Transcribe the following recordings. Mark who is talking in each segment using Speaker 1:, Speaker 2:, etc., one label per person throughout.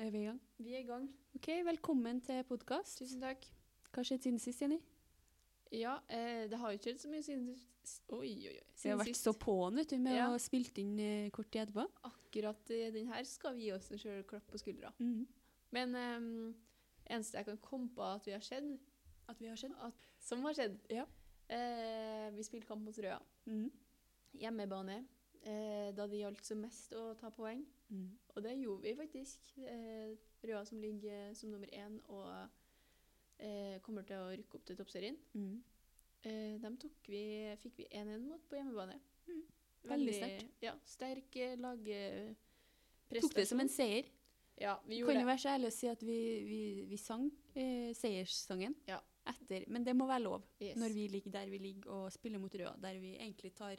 Speaker 1: Er vi i gang?
Speaker 2: Vi er i gang.
Speaker 1: Ok, velkommen til podkast.
Speaker 2: Tusen takk.
Speaker 1: Hva skjedde siden sist, Jenny?
Speaker 2: Ja, eh, det har jo ikke skjedd så mye siden sist. Oi, oi,
Speaker 1: Vi
Speaker 2: oi.
Speaker 1: har
Speaker 2: Siden
Speaker 1: vært
Speaker 2: sist.
Speaker 1: så på'n vet du, med
Speaker 2: Ja.
Speaker 1: å ha spilt inn eh, kort tid etterpå.
Speaker 2: Akkurat eh, den her skal vi gi oss en sjølklapp på skuldra. Men eh, eneste jeg kan komme på at vi har skjedd,
Speaker 1: At vi har skjedd.
Speaker 2: at, som har skjedd
Speaker 1: Ja.
Speaker 2: eh, Vi spilte kamp mot Røa.
Speaker 1: Mm,
Speaker 2: Hjemmebane. Eh, da det gjaldt som mest å ta poeng.
Speaker 1: mm,
Speaker 2: Og det gjorde vi faktisk. Eh, Røa som ligger eh, som nummer én og eh, kommer til å rykke opp til toppserien.
Speaker 1: mm.
Speaker 2: Eh, dem tok vi, fikk vi 1-1 mot på hjemmebane.
Speaker 1: Mm. Veldig sterkt.
Speaker 2: Ja, sterk eh, lagprestasjon.
Speaker 1: Tok det som en seier.
Speaker 2: Ja, vi
Speaker 1: kan
Speaker 2: gjorde
Speaker 1: jo
Speaker 2: det.
Speaker 1: være så ærlig å si at vi, vi, vi sang eh, seierssangen
Speaker 2: Ja.
Speaker 1: etter. Men det må være lov
Speaker 2: Yes.
Speaker 1: når vi ligger der vi ligger og spiller mot Røa, der vi egentlig tar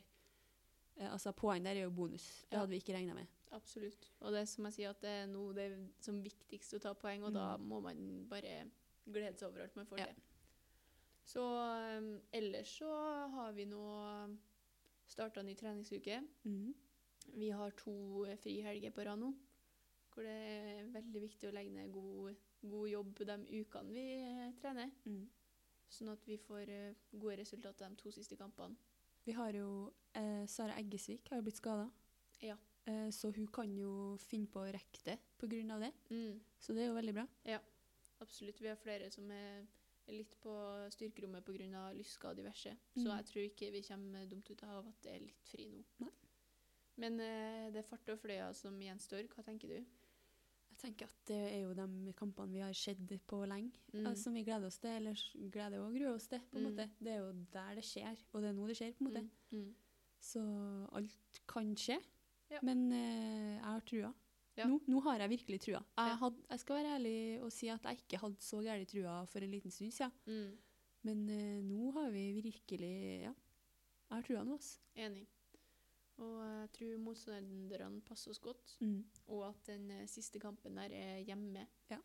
Speaker 1: eh, Altså, poeng der er jo bonus. Det
Speaker 2: Ja.
Speaker 1: hadde vi ikke regna med.
Speaker 2: Absolutt. Og det er som jeg sier, at det er nå det er som viktigst å ta poeng, og da
Speaker 1: Mm.
Speaker 2: må man bare glede seg over alt man får
Speaker 1: Ja.
Speaker 2: til. Så eh, ellers så har vi nå starta ny treningsuke.
Speaker 1: Mm,
Speaker 2: Vi har to eh, frihelger på rad nå, hvor det er veldig viktig å legge ned god, god jobb på de ukene vi eh, trener.
Speaker 1: mm.
Speaker 2: Sånn at vi får eh, gode resultater de to siste kampene.
Speaker 1: Vi har jo eh, Sara Eggesvik har jo blitt skada.
Speaker 2: Ja.
Speaker 1: Eh, så hun kan jo finne på å rekke det pga. det. Så det er jo veldig bra.
Speaker 2: Absolutt. Vi har flere som er litt på styrkerommet pga. lysker og diverse. Så
Speaker 1: Mm.
Speaker 2: jeg tror ikke vi kommer dumt ut av at det er litt fri nå.
Speaker 1: Nei.
Speaker 2: Men eh, det er fart og fløya som gjenstår. Hva tenker du?
Speaker 1: Jeg tenker at det er jo de kampene vi har sett på lenge,
Speaker 2: Mm.
Speaker 1: eh, som vi gleder oss til. Eller s- gleder og gruer oss til, på en
Speaker 2: Mm.
Speaker 1: måte. Det er jo der det skjer, og det er nå det skjer, på en måte.
Speaker 2: Mm. Mm.
Speaker 1: Så alt kan skje.
Speaker 2: Ja.
Speaker 1: Men eh, jeg har trua.
Speaker 2: Ja.
Speaker 1: Nå, nå har jeg virkelig trua. Jeg,
Speaker 2: Ja.
Speaker 1: hadde- jeg skal være ærlig og si at jeg ikke hadde så gæren trua for en liten stund siden.
Speaker 2: Mm.
Speaker 1: Men eh, nå har vi virkelig Ja, jeg har trua nå, altså.
Speaker 2: Enig. Og jeg tror motstanderne passer oss godt, og at den eh, siste kampen der er hjemme.
Speaker 1: Ja.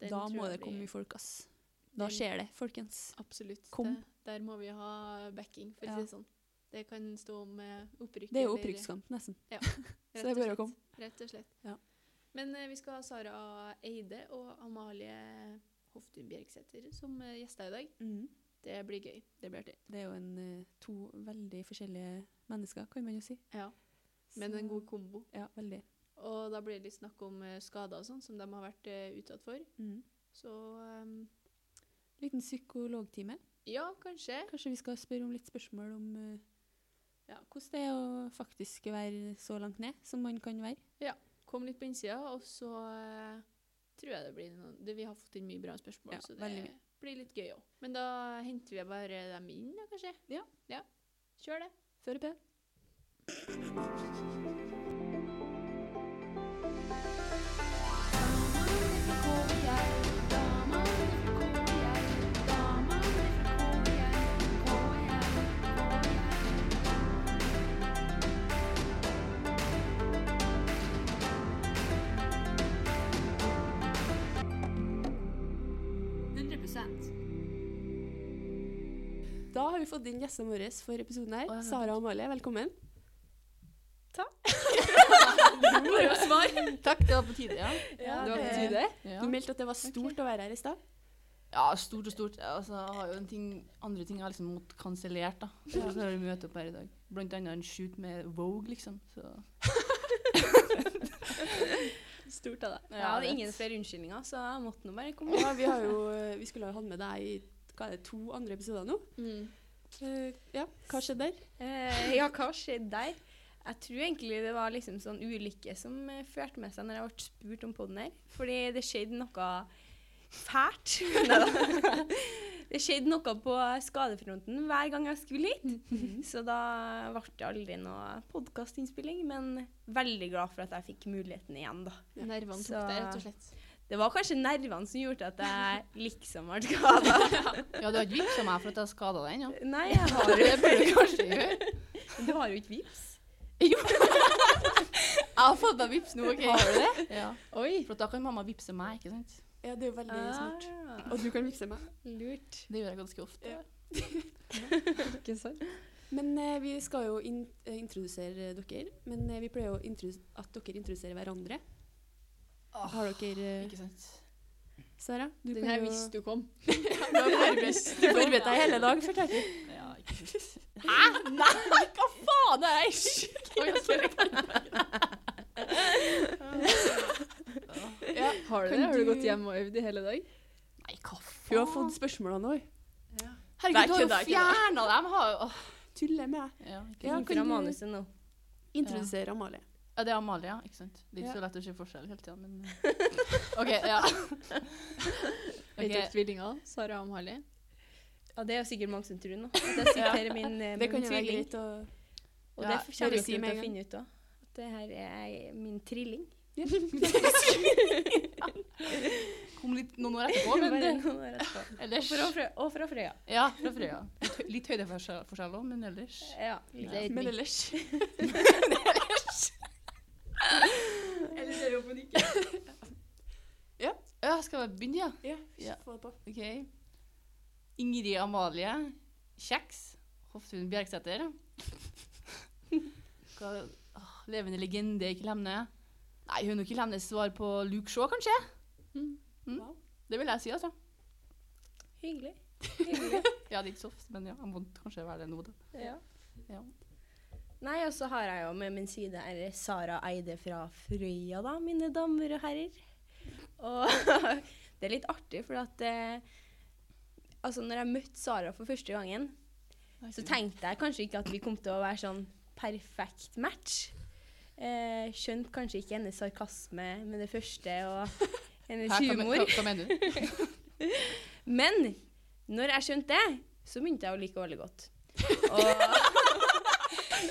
Speaker 2: Den
Speaker 1: Da
Speaker 2: tror
Speaker 1: må
Speaker 2: jeg
Speaker 1: det komme
Speaker 2: blir-
Speaker 1: mye folk, ass. Da
Speaker 2: Den-
Speaker 1: skjer det, folkens.
Speaker 2: Absolutt.
Speaker 1: Kom.
Speaker 2: Det, der må vi ha backing, for
Speaker 1: Ja.
Speaker 2: å si det sånn. Det kan stå om eh, opprykk.
Speaker 1: Det er jo
Speaker 2: eller-
Speaker 1: opprykkskamp, nesten.
Speaker 2: rett
Speaker 1: så det er
Speaker 2: og
Speaker 1: bare å
Speaker 2: slett.
Speaker 1: komme.
Speaker 2: Rett og slett.
Speaker 1: Ja.
Speaker 2: Men eh, vi skal ha Sara Eide og Amalie Hoftun Bjerksæter som eh, gjester i dag. Det blir gøy. Det blir artig.
Speaker 1: Det er jo en, eh, to veldig forskjellige mennesker, kan man jo si.
Speaker 2: Ja. Men
Speaker 1: Så-
Speaker 2: en god kombo.
Speaker 1: Ja, veldig.
Speaker 2: Og da blir det litt snakk om eh, skader og sånn, som de har vært eh, utsatt for. Så eh,
Speaker 1: Liten psykologtime.
Speaker 2: ja, kanskje.
Speaker 1: Kanskje vi skal spørre om litt spørsmål om eh,
Speaker 2: Ja.
Speaker 1: hvordan det er å faktisk være så langt ned som man kan være.
Speaker 2: Kom litt på innsida, og så eh, tror jeg det blir noen det, Vi har fått inn mye bra spørsmål,
Speaker 1: Ja,
Speaker 2: så det
Speaker 1: veldig mye.
Speaker 2: blir litt gøy òg. Men da henter vi bare dem inn, da, kanskje?
Speaker 1: Ja.
Speaker 2: Kjør det.
Speaker 1: Før og på. Da har vi fått inn gjestene våre for episoden her.
Speaker 2: Å, ja, men-
Speaker 1: Sara og Amalie, velkommen.
Speaker 2: Bare svar.
Speaker 3: Takk, det var på tide, ja.
Speaker 2: Ja,
Speaker 3: det var på
Speaker 2: det-
Speaker 3: tide.
Speaker 1: Du
Speaker 3: Ja,
Speaker 1: meldte at det var stort å være her i stad.
Speaker 3: stort og stort. Altså, jeg har jo en ting, andre ting jeg har liksom måtte kansellert, da. Så
Speaker 1: Ja.
Speaker 3: jeg har møte opp her i dag. Blant annet en shoot med Vogue, liksom. Så.
Speaker 2: Stort av deg.
Speaker 3: Ja, jeg vet.
Speaker 4: flere unnskyldninger, så jeg måtte nå bare komme.
Speaker 1: Ja, vi, har jo, eh, vi skulle ha hatt med deg i hva er det, to andre episoder nå.
Speaker 2: Mm.
Speaker 1: Eh, ja, hva skjedde der?
Speaker 4: Eh, ja, hva skjedde der? Jeg tror egentlig det var liksom sånn ulykke som eh, førte med seg når jeg ble spurt om podden her. Fordi det skjedde noe fælt. Neida. det skjedde noe på skadefronten hver gang jeg skulle hit. Så da ble det aldri noe podkastinnspilling, men veldig glad for at jeg fikk muligheten igjen, da.
Speaker 2: Nervene tok
Speaker 4: Så-
Speaker 2: deg, rett og slett.
Speaker 4: Det var kanskje nervene som gjorde at jeg liksom ble skada.
Speaker 3: Ja, du har ikke vipsa meg for at jeg skada deg ennå.
Speaker 4: Nei, jeg har jo
Speaker 3: Det burde du kanskje gjøre.
Speaker 4: Du har jo ikke vips.
Speaker 3: Jeg har fått meg vips nå, OK? Har du det? Ja.
Speaker 2: Oi.
Speaker 3: For at da kan mamma vipse meg, ikke sant?
Speaker 1: Ja, det er jo veldig
Speaker 3: Ah.
Speaker 1: smart. Og du kan vipse meg.
Speaker 4: Ah, Lurt.
Speaker 3: Det gjør jeg ganske ofte.
Speaker 1: Ja.
Speaker 4: Ikke sant?
Speaker 1: Men eh, vi skal jo in eh, introdusere dere. Men eh, vi pleier jo å introdu- at dere introduserer hverandre.
Speaker 3: Å,
Speaker 1: Har dere eh,
Speaker 3: Ikke sant?
Speaker 1: Sara? Du
Speaker 2: Den
Speaker 1: kan
Speaker 2: her
Speaker 1: jo-
Speaker 2: visste du kom.
Speaker 1: Du forberedte deg hele dag, fortalte du.
Speaker 3: Ja, ikke sant.
Speaker 1: Faen, det er sjukt!
Speaker 2: Ja, har du
Speaker 1: Kan
Speaker 2: det? Har du
Speaker 1: du-
Speaker 2: gått hjem og øvd i hele dag?
Speaker 3: Nei, hva
Speaker 1: Hun
Speaker 3: faen?
Speaker 1: har fått spørsmålene òg.
Speaker 3: Herregud, du har
Speaker 1: Det er
Speaker 3: jo
Speaker 1: ikke det, det er ikke
Speaker 3: fjerna dem! Har jo... Åh.
Speaker 1: Tuller med deg.
Speaker 3: Ja, ikke
Speaker 1: Ja,
Speaker 3: sant.
Speaker 4: Inn
Speaker 1: kan
Speaker 4: fra
Speaker 1: du-
Speaker 4: manuset nå.
Speaker 1: Introdusere Amalie.
Speaker 3: ja, det er Amalia, ikke sant? Det er
Speaker 1: Ja.
Speaker 3: ikke så lett å se forskjell hele tida, men eh, OK, ja.
Speaker 2: Vet dere
Speaker 3: Ok,
Speaker 2: tvillinger? Sara og Amalie?
Speaker 4: Ja, det er jo sikkert mange som tror nå. At jeg siterer min, eh,
Speaker 1: Det
Speaker 4: min
Speaker 1: kan jo være
Speaker 4: tvilling.
Speaker 1: greit å
Speaker 4: Og
Speaker 3: Ja,
Speaker 4: det
Speaker 1: bare
Speaker 4: kommer dere
Speaker 1: si
Speaker 4: til
Speaker 1: med en
Speaker 4: å
Speaker 1: gang.
Speaker 4: finne ut òg. At det her er min trilling.
Speaker 3: Kom litt noen år etterpå, men
Speaker 4: Bare
Speaker 3: det,
Speaker 4: noen år etterpå.
Speaker 3: ellers
Speaker 4: Fra Frø- Og fra Frøya.
Speaker 3: Ja, fra Frøya. Litt høy- Litt høydeforskjell òg, men ellers
Speaker 4: Ja, det er
Speaker 1: Men ellers
Speaker 4: Eller ikke.
Speaker 3: Ja, skal vi begynne, ja?
Speaker 1: Ja,
Speaker 3: Ja.
Speaker 1: få det på.
Speaker 3: OK. Ingrid Amalie Kjeks. Hoftun Bjerksæter. Hva- åh, Levende legende i Klemne. Nei, hun er nok ikke Lemnes svar på Luke Shaw, kanskje?
Speaker 2: Mm.
Speaker 3: Mm.
Speaker 1: Wow.
Speaker 3: Det vil jeg si, altså.
Speaker 4: Hyggelig. Hyggelig.
Speaker 3: Ja, det er ikke så ofte, men ja, jeg må kanskje være det nå, da.
Speaker 4: Ja.
Speaker 3: Ja.
Speaker 4: Nei, og så har jeg jo med min side her Sara Eide fra Frøya, da, mine damer og herrer. Og det er litt artig, for at eh, Altså, når jeg møtte Sara for første gangen, så tenkte jeg kanskje ikke at vi kom til å være sånn perfekt match. Eh, skjønte kanskje ikke hennes sarkasme med det første, og
Speaker 3: Hæ,
Speaker 4: hennes
Speaker 3: hva men-
Speaker 4: humor.
Speaker 3: Hva, hva mener du?
Speaker 4: Men når jeg skjønte det, så begynte jeg å like henne veldig godt. Og,
Speaker 3: Ja,
Speaker 1: Som med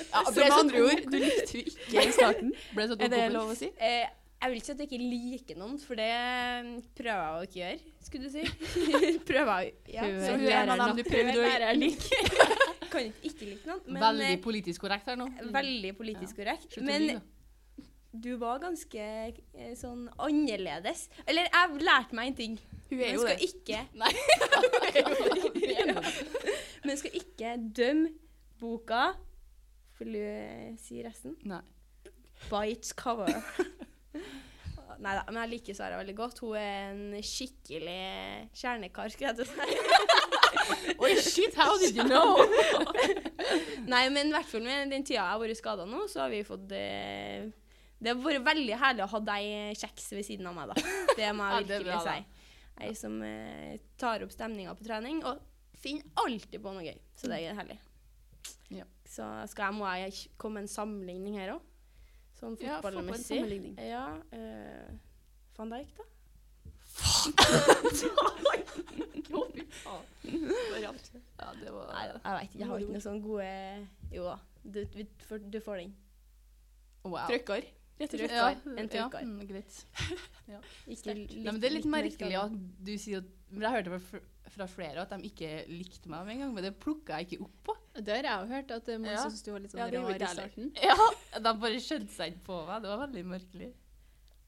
Speaker 1: andre sånn ord, du likte jo ikke i starten.
Speaker 3: Ble
Speaker 1: Er
Speaker 3: det sånn
Speaker 1: det
Speaker 3: kompis?
Speaker 1: lov å si?
Speaker 4: eh, jeg vil ikke si at jeg ikke liker noen, for det eh, prøver jeg å ikke gjøre, skulle du si. prøver jeg å- ja.
Speaker 1: Så
Speaker 4: Så
Speaker 1: hun er en av dem du prøvde å
Speaker 4: Prøver jeg liker. Kan ikke like noen, men
Speaker 3: Veldig
Speaker 4: veldig,
Speaker 3: eh, politisk korrekt her nå.
Speaker 4: veldig politisk korrekt.
Speaker 3: Slutt å lyve,
Speaker 4: Men
Speaker 3: da.
Speaker 4: du var ganske eh, sånn annerledes. Eller jeg lærte meg en ting.
Speaker 1: Hun er
Speaker 4: Man
Speaker 1: jo
Speaker 4: skal
Speaker 1: det.
Speaker 4: ikke
Speaker 3: Ja.
Speaker 4: Man skal ikke dømme boka Vil du eh, si resten?
Speaker 3: Nei.
Speaker 4: Bites cover. Nei da, men jeg liker Sara veldig godt. Hun er en skikkelig kjernekar, skulle jeg til å si.
Speaker 3: Oi, shit, how did you know?
Speaker 4: Nei, men i hvert fall med den tida jeg har vært skada nå, så har vi fått eh, Det har vært veldig herlig å ha deg eh, kjeks ved siden av meg, da. Det må
Speaker 3: Ja,
Speaker 4: jeg
Speaker 3: det er bra,
Speaker 4: virkelig
Speaker 3: da.
Speaker 4: si. Jeg som eh, tar opp stemninga på trening, og finner alltid på noe gøy. Så det er herlig.
Speaker 3: Ja.
Speaker 4: Så skal jeg, må jeg komme med en sammenligning her òg, sånn
Speaker 1: Ja, få på en
Speaker 4: fotballmessig.
Speaker 1: sammenligning.
Speaker 4: Ja, eh, Van Dijk, da?
Speaker 3: Ja, det
Speaker 4: Nei,
Speaker 3: var
Speaker 4: jeg veit ikke. Jeg har ikke noen sånne gode Jo da, du, vi, får- du får den.
Speaker 3: Wow.
Speaker 1: Trøkker. Rett og slett.
Speaker 4: Trøkker. En
Speaker 3: ja,
Speaker 4: trøkker.
Speaker 3: mm, greit.
Speaker 4: Ikke
Speaker 1: Sterkt.
Speaker 4: litt-
Speaker 3: Nei, men det er litt
Speaker 4: mer
Speaker 3: merkelig
Speaker 4: skada.
Speaker 3: at du sier at men Jeg hørte fra, fra flere at de ikke likte meg med en gang, men det plukka jeg ikke opp på.
Speaker 2: Og Der har jeg jo hørt at eh, mange
Speaker 3: Ja.
Speaker 2: som syns du var litt sånn
Speaker 1: Ja, det gjorde
Speaker 2: rar i
Speaker 1: jeg heller.
Speaker 2: starten.
Speaker 3: Ja, De bare skjønte seg ikke på meg. Det var veldig merkelig.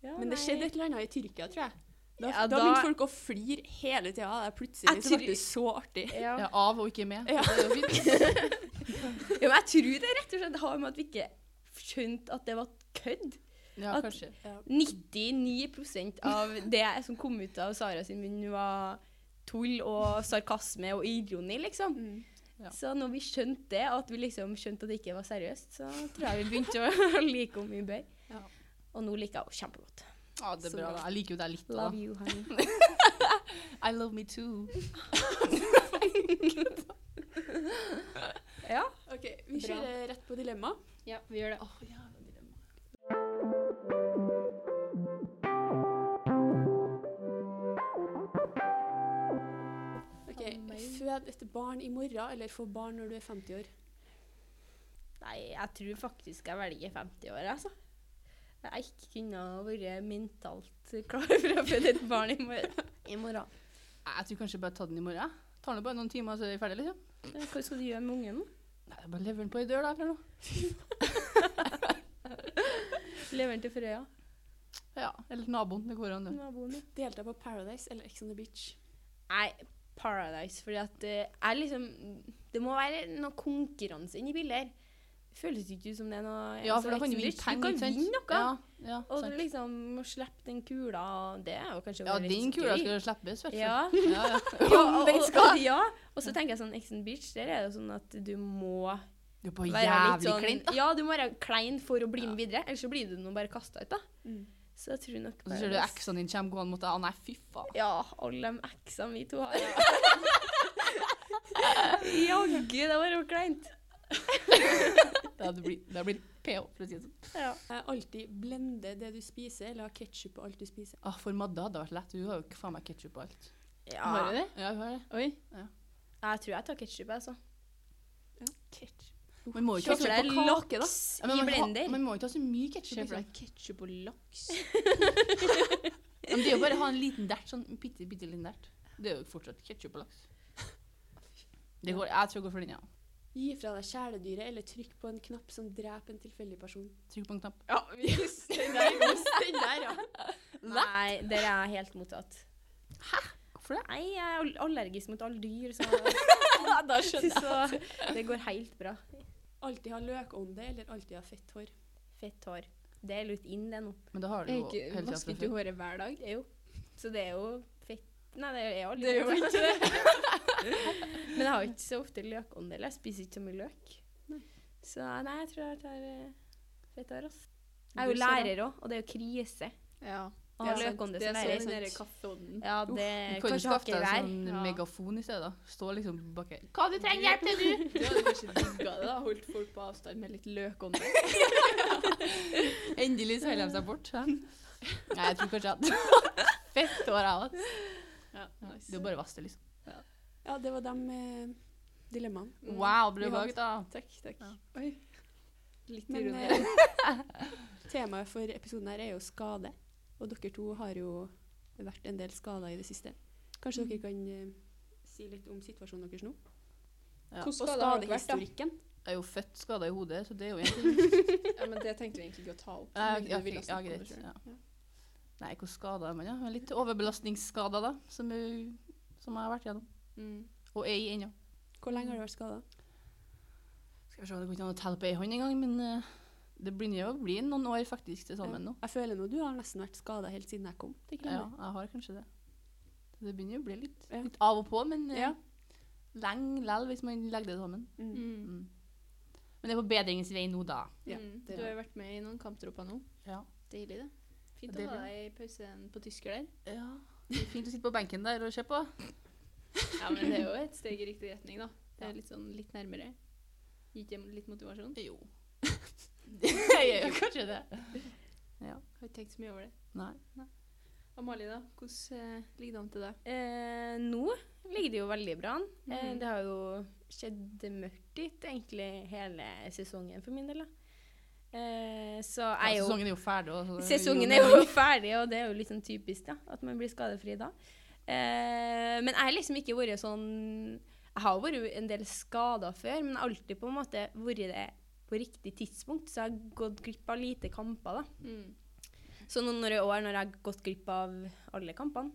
Speaker 4: Ja,
Speaker 1: Men det
Speaker 4: nei.
Speaker 1: skjedde et eller annet i Tyrkia, tror jeg. Da, da
Speaker 4: Ja, da-
Speaker 1: begynte folk å flire hele tida. Det er plutselig
Speaker 4: Jeg
Speaker 1: så ble
Speaker 4: tror-
Speaker 1: det så artig.
Speaker 4: Ja.
Speaker 3: Ja, Av og ikke med.
Speaker 1: Ja.
Speaker 3: Det er jo fint.
Speaker 4: Ja, men jeg tror det rett og slett har med at vi ikke skjønte at det var kødd.
Speaker 3: Ja,
Speaker 4: At-
Speaker 3: kanskje.
Speaker 4: 99 av det som kom ut av Sara sin munn, var tull og sarkasme og ironi, liksom.
Speaker 1: Mm.
Speaker 3: Ja.
Speaker 4: Så når vi skjønte det, at vi liksom skjønte at det ikke var seriøst, så tror jeg vi begynte å like henne mye bedre.
Speaker 3: Ja.
Speaker 4: Og nå liker jeg henne kjempegodt.
Speaker 3: Ja, det er
Speaker 4: Så
Speaker 3: bra.
Speaker 4: bra.
Speaker 3: da. Jeg liker jo deg litt. Da.
Speaker 4: Love you, honey.
Speaker 3: I love me too.
Speaker 4: Ja.
Speaker 1: OK, vi
Speaker 2: Bra.
Speaker 1: kjører rett på dilemma.
Speaker 2: Ja, vi gjør det.
Speaker 3: Åh, jævla dilemma.
Speaker 1: Ok,
Speaker 2: Faen meg.
Speaker 1: Fød et barn i morgen, eller få barn når du er 50 år.
Speaker 4: Nei, jeg tror faktisk jeg velger 50 år, altså. Jeg har ikke kunne ha vært mentalt klar for å føde et barn i morgen. I morgen.
Speaker 3: Nei, Jeg tror kanskje jeg bare ta den i morgen. jeg. Tar den bare noen timer, så er vi ferdige, liksom.
Speaker 4: Hva skal du gjøre med ungen? nå?
Speaker 3: Nei, jeg bare lever den på ei dør, da. Eller noe.
Speaker 4: Lever den til Frøya?
Speaker 3: Ja, Eller naboen. Det går an, det.
Speaker 4: Naboen, ja.
Speaker 1: Delta på Paradise eller Ex on the Beach.
Speaker 4: Nei, Paradise. Fordi at eh, jeg liksom Det må være noe konkurranse inni bildet her. føles det ikke ut som det er noe
Speaker 3: Ja, for
Speaker 4: altså,
Speaker 3: da kan du vinne
Speaker 4: ikke sant?
Speaker 3: penger.
Speaker 4: Du kan vinne noe.
Speaker 3: Ja, ja,
Speaker 4: Og
Speaker 3: sant.
Speaker 4: liksom å slippe den kula, og det er jo kanskje
Speaker 3: ja
Speaker 4: veldig
Speaker 3: den kula
Speaker 4: sånn gøy.
Speaker 3: skal slippes, vet du.
Speaker 4: Ja.
Speaker 3: Ja, ja.
Speaker 4: Ja,
Speaker 3: Om
Speaker 4: og-
Speaker 3: den
Speaker 4: og-
Speaker 3: skal.
Speaker 4: Ja. Og så tenker jeg sånn Ex on Beach, der er det jo sånn at du må
Speaker 3: Du er bare
Speaker 4: være litt
Speaker 3: jævlig
Speaker 4: sånn
Speaker 3: kleint, da.
Speaker 4: Ja, du må være klein for å bli med videre, ellers så blir du nå bare kasta ut, da.
Speaker 1: Mm.
Speaker 4: Så jeg tror nok
Speaker 3: Og så ser du eksene dine kommer gående mot deg, å nei, fy faen.
Speaker 4: Ja, alle de eksene vi to har. Jaggu, det var jo kleint.
Speaker 3: Det hadde blitt, det hadde blitt PH, for å si det sånn.
Speaker 4: Ja.
Speaker 1: Eh, Alltid blende det du spiser, eller ha ketsjup på alt du spiser.
Speaker 3: Ah, for Madda hadde vært lett. Hun har jo ikke faen meg ketsjup på alt.
Speaker 2: Har du det?
Speaker 3: Ja, hun har det.
Speaker 2: Oi.
Speaker 4: Jeg tror jeg tar ketsjup, altså.
Speaker 3: Man må jo ikke
Speaker 4: Se
Speaker 3: ha
Speaker 4: for
Speaker 3: så-
Speaker 4: deg
Speaker 1: på kake, da.
Speaker 4: laks
Speaker 3: Ja, men
Speaker 4: i
Speaker 3: man ha-
Speaker 4: blender.
Speaker 3: Man må jo ikke ha så mye ketsjup.
Speaker 2: Se for
Speaker 3: Liksom.
Speaker 2: deg ketsjup og laks.
Speaker 3: Men det er jo bare å ha en liten dert, sånn en bitte, bitte liten dert. Det er jo fortsatt ketsjup og laks. Det går, jeg tror jeg går for den, ja.
Speaker 1: Gi fra deg kjæledyret, eller trykk på en knapp som dreper en tilfeldig person.
Speaker 3: Trykk på en knapp.
Speaker 1: Ja, just den der, just den der, ja.
Speaker 4: Nei, dere er helt mottatt.
Speaker 3: Hvorfor det?
Speaker 4: Nei, jeg er all- allergisk mot alle dyr, så Da skjønner jeg. Så det går helt bra.
Speaker 1: Alltid ha løkånde, eller alltid ha fett hår.
Speaker 4: Fett hår. Det er litt inn, det nå.
Speaker 3: Men da har du
Speaker 2: Jeg
Speaker 3: jo
Speaker 2: ikke,
Speaker 3: hele tiden
Speaker 2: vasker
Speaker 3: fra
Speaker 2: ikke
Speaker 3: før.
Speaker 2: håret hver dag.
Speaker 4: Det er jo. Så det er jo fett Nei, det er jo aldri
Speaker 2: Det er jo
Speaker 4: godt.
Speaker 2: ikke det.
Speaker 4: Men jeg har ikke så ofte løkåndel. Jeg spiser ikke så mye løk. Så nei, jeg tror jeg tar eh, fett hår, ass. Jeg er jo
Speaker 1: Du ser det.
Speaker 4: lærer òg, og det er jo krise.
Speaker 2: Ja.
Speaker 4: Å ha løkånde
Speaker 2: Det
Speaker 4: som
Speaker 2: er
Speaker 4: lærer.
Speaker 2: sånn den der
Speaker 4: sant?
Speaker 2: kaffeånden.
Speaker 4: Ja,
Speaker 3: Du
Speaker 4: det
Speaker 3: kan jo
Speaker 4: Kanskje
Speaker 3: skaffe
Speaker 4: hakker
Speaker 3: deg
Speaker 4: hver.
Speaker 3: sånn
Speaker 2: Ja.
Speaker 3: megafon i stedet. da. Stå liksom bak her. Hva du trenger hjelp til, du?
Speaker 2: Du hadde kanskje digga det, da. Holdt folk på avstand med litt løkånde.
Speaker 3: Endelig så holder de seg bort. Ja. Nei, jeg tror kanskje at Fett hår, jeg òg.
Speaker 2: Ja, nice.
Speaker 3: Det er bare å vaske det, liksom.
Speaker 1: Ja, det var de eh, dilemmaene.
Speaker 2: Mm.
Speaker 3: Wow, blir
Speaker 1: Vi
Speaker 3: det
Speaker 1: har-
Speaker 3: bak, da.
Speaker 2: Takk, takk.
Speaker 3: Ja.
Speaker 2: Oi. Litt
Speaker 1: Men
Speaker 2: ironi.
Speaker 1: eh, temaet for episoden her er jo skade. Og dere to har jo vært en del skada i det siste. Kanskje
Speaker 2: Mm.
Speaker 1: dere kan eh, si litt om situasjonen deres nå?
Speaker 3: Ja.
Speaker 2: Hvor
Speaker 1: Og
Speaker 2: skadet har dere vært, da?
Speaker 1: skadehistorikken.
Speaker 3: Jeg er jo født skada i hodet, så det er jo egentlig
Speaker 2: Ja, men det tenkte vi egentlig ikke å ta opp.
Speaker 3: Ja,
Speaker 2: men
Speaker 3: ja,
Speaker 2: du ville
Speaker 3: ja,
Speaker 2: snakke om det
Speaker 3: greit,
Speaker 2: selv.
Speaker 3: ja. Nei, hvor skada er man, ja? Litt overbelastningsskader, da. Som, er- som jeg har vært gjennom.
Speaker 2: Mm.
Speaker 3: Og er i ennå.
Speaker 1: Hvor lenge har du vært skada?
Speaker 3: Skal vi se, det går ikke an å telle på ei hånd engang, men eh, det begynner jo å bli noen år faktisk til sammen nå.
Speaker 1: Jeg føler nå du har nesten vært skada helt siden jeg kom. til
Speaker 3: Ja,
Speaker 1: Klemmer.
Speaker 3: jeg har kanskje det. Så Det begynner jo å bli litt,
Speaker 1: Ja.
Speaker 3: litt av og på, men eh,
Speaker 1: Ja.
Speaker 3: lenge lell hvis man legger det sammen.
Speaker 1: Mm.
Speaker 2: Mm.
Speaker 3: Mm. Men det er på bedringens vei nå, da.
Speaker 1: Ja,
Speaker 2: Mm.
Speaker 1: det
Speaker 2: Du har
Speaker 1: er-
Speaker 2: jo vært med i noen kamptropper nå.
Speaker 3: Ja.
Speaker 2: Deilig, det. Fint
Speaker 3: Det
Speaker 2: å ha
Speaker 3: blir-
Speaker 2: deg i pausen på tysker der.
Speaker 3: Det er fint å sitte på benken der og se på.
Speaker 2: Ja, men det er jo et steg i riktig retning, da. Det
Speaker 3: Ja.
Speaker 2: er litt sånn litt nærmere. Gikk det litt motivasjon?
Speaker 3: Jo. det gjør jo kanskje det.
Speaker 2: Har ikke tenkt så mye over det.
Speaker 3: Nei.
Speaker 2: Amalie, da. Hvordan eh, ligger det an til deg?
Speaker 4: Eh, nå ligger det jo veldig bra an. Eh,
Speaker 2: Mhm.
Speaker 4: det har jo skjedd mørkt dit egentlig hele sesongen for min del. da. Eh, så
Speaker 3: Ja,
Speaker 4: jeg er jo
Speaker 3: sesongen er jo ferdig. og så-
Speaker 4: Sesongen er jo ferdig, og det er jo litt sånn typisk da, at man blir skadefri da. Eh, men jeg har liksom ikke vært sånn Jeg har vært en del skader før, men jeg har alltid på en måte vært det på riktig tidspunkt, så jeg har gått glipp av lite kamper. da.
Speaker 2: Mm.
Speaker 4: Så nå når i år, når jeg har gått glipp av alle kampene,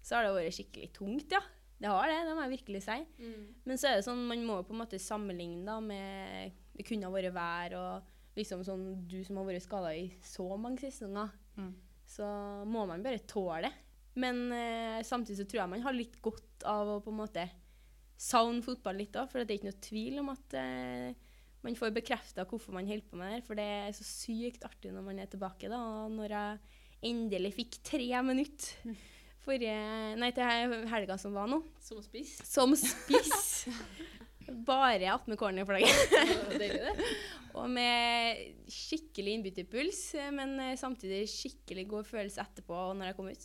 Speaker 4: så har det vært skikkelig tungt, ja. Det har det, det må jeg virkelig si.
Speaker 2: Mm.
Speaker 4: Men så er det sånn, man må jo på en måte sammenligne da med Det kunne ha vært vær og liksom sånn Du som har vært skada i så mange sesonger,
Speaker 3: Mm.
Speaker 4: så må man bare tåle det. Men eh, samtidig så tror jeg man har litt godt av å på en måte savne fotball litt òg, for det er ikke noe tvil om at eh, man får bekrefta hvorfor man holder på med det her, for det er så sykt artig når man er tilbake, da. Og når jeg endelig fikk tre minutter forrige Nei, til helga som var nå,
Speaker 2: Som spiss.
Speaker 4: som spiss. Bare attmed cornerflagget.
Speaker 2: Deilig, det.
Speaker 4: Og med skikkelig innbytterpuls, men eh, samtidig skikkelig god følelse etterpå og når jeg kom ut.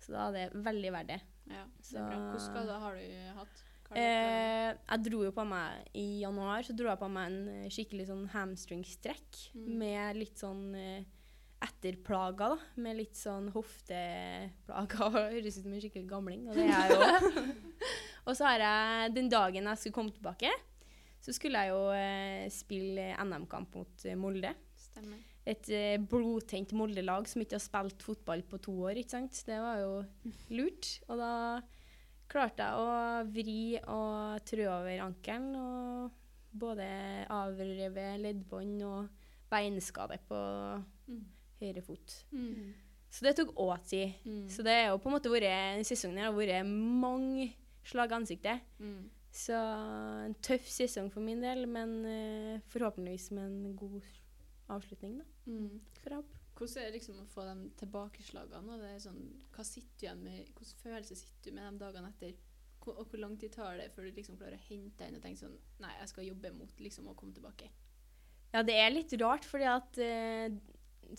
Speaker 4: Så da er det veldig verdt det.
Speaker 2: Ja, det
Speaker 4: Så-
Speaker 2: er bra. Hvilke skader har du hatt? Hva har du hatt?
Speaker 4: Eh, jeg dro jo på meg I januar så dro jeg på meg en eh, skikkelig sånn hamstringstrekk
Speaker 2: Mm.
Speaker 4: med litt sånn eh, etterplager, da. Med litt sånn hofteplager. og Høres ut som en skikkelig gamling, og det er jeg jo. og så har jeg Den dagen jeg skulle komme tilbake, så skulle jeg jo eh, spille NM-kamp mot eh, Molde.
Speaker 2: Stemmer.
Speaker 4: Et eh, blodtent Molde-lag som ikke har spilt fotball på to år, ikke sant. Det var jo lurt. Og da klarte jeg å vri og trø over ankelen og både avrevet leddbånd og beinskade på
Speaker 2: Mm.
Speaker 4: høyre fot.
Speaker 2: Mm.
Speaker 4: Så det tok òg tid.
Speaker 2: Mm.
Speaker 4: Så det er jo på en måte vært, denne sesongen her har vært mange slag i ansiktet.
Speaker 2: Mm.
Speaker 4: Så en tøff sesong for min del, men eh, forhåpentligvis med en god avslutning, da.
Speaker 2: Mm.
Speaker 4: For Rapp.
Speaker 2: Hvordan er det liksom å få de tilbakeslagene? og Det er sånn, hva sitter du igjen med, Hvilke følelser sitter du med de dagene etter? Hvor, og hvor lang tid tar det før du liksom klarer å hente deg inn og tenke sånn Nei, jeg skal jobbe mot liksom å komme tilbake.
Speaker 4: Ja, det er litt rart, fordi at eh,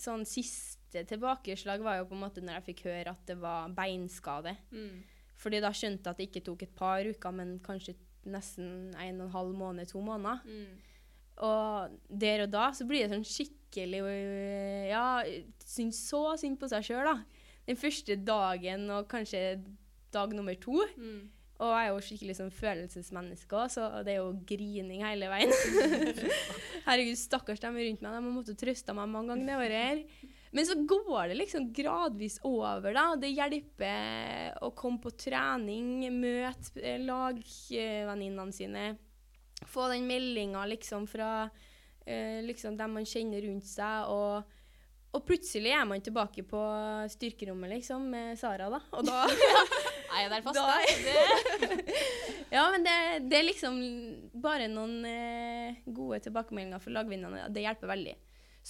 Speaker 4: sånn siste tilbakeslag var jo på en måte når jeg fikk høre at det var beinskade.
Speaker 2: Mm.
Speaker 4: Fordi da skjønte jeg at det ikke tok et par uker, men kanskje nesten en og en halv måned, to måneder.
Speaker 2: Mm.
Speaker 4: Og der og da så blir det sånn skikkelig øh, Ja, syns så synd på seg sjøl, da. Den første dagen og kanskje dag nummer to.
Speaker 2: Mm.
Speaker 4: Og jeg er jo skikkelig sånn følelsesmenneske òg, så det er jo grining hele veien. Herregud, stakkars dem rundt meg. De måtte trøste meg mange ganger det året her. Men så går det liksom gradvis over, da. Det hjelper å komme på trening, møte eh, lagvenninnene sine. Få den meldinga liksom fra eh, liksom dem man kjenner rundt seg, og og plutselig er man tilbake på styrkerommet liksom, med Sara, da. Og da
Speaker 3: Nei, det er fast.
Speaker 4: Da-
Speaker 3: Da. Det.
Speaker 4: Ja, men det, det er liksom bare noen eh, gode tilbakemeldinger fra lagvinnerne. Det hjelper veldig.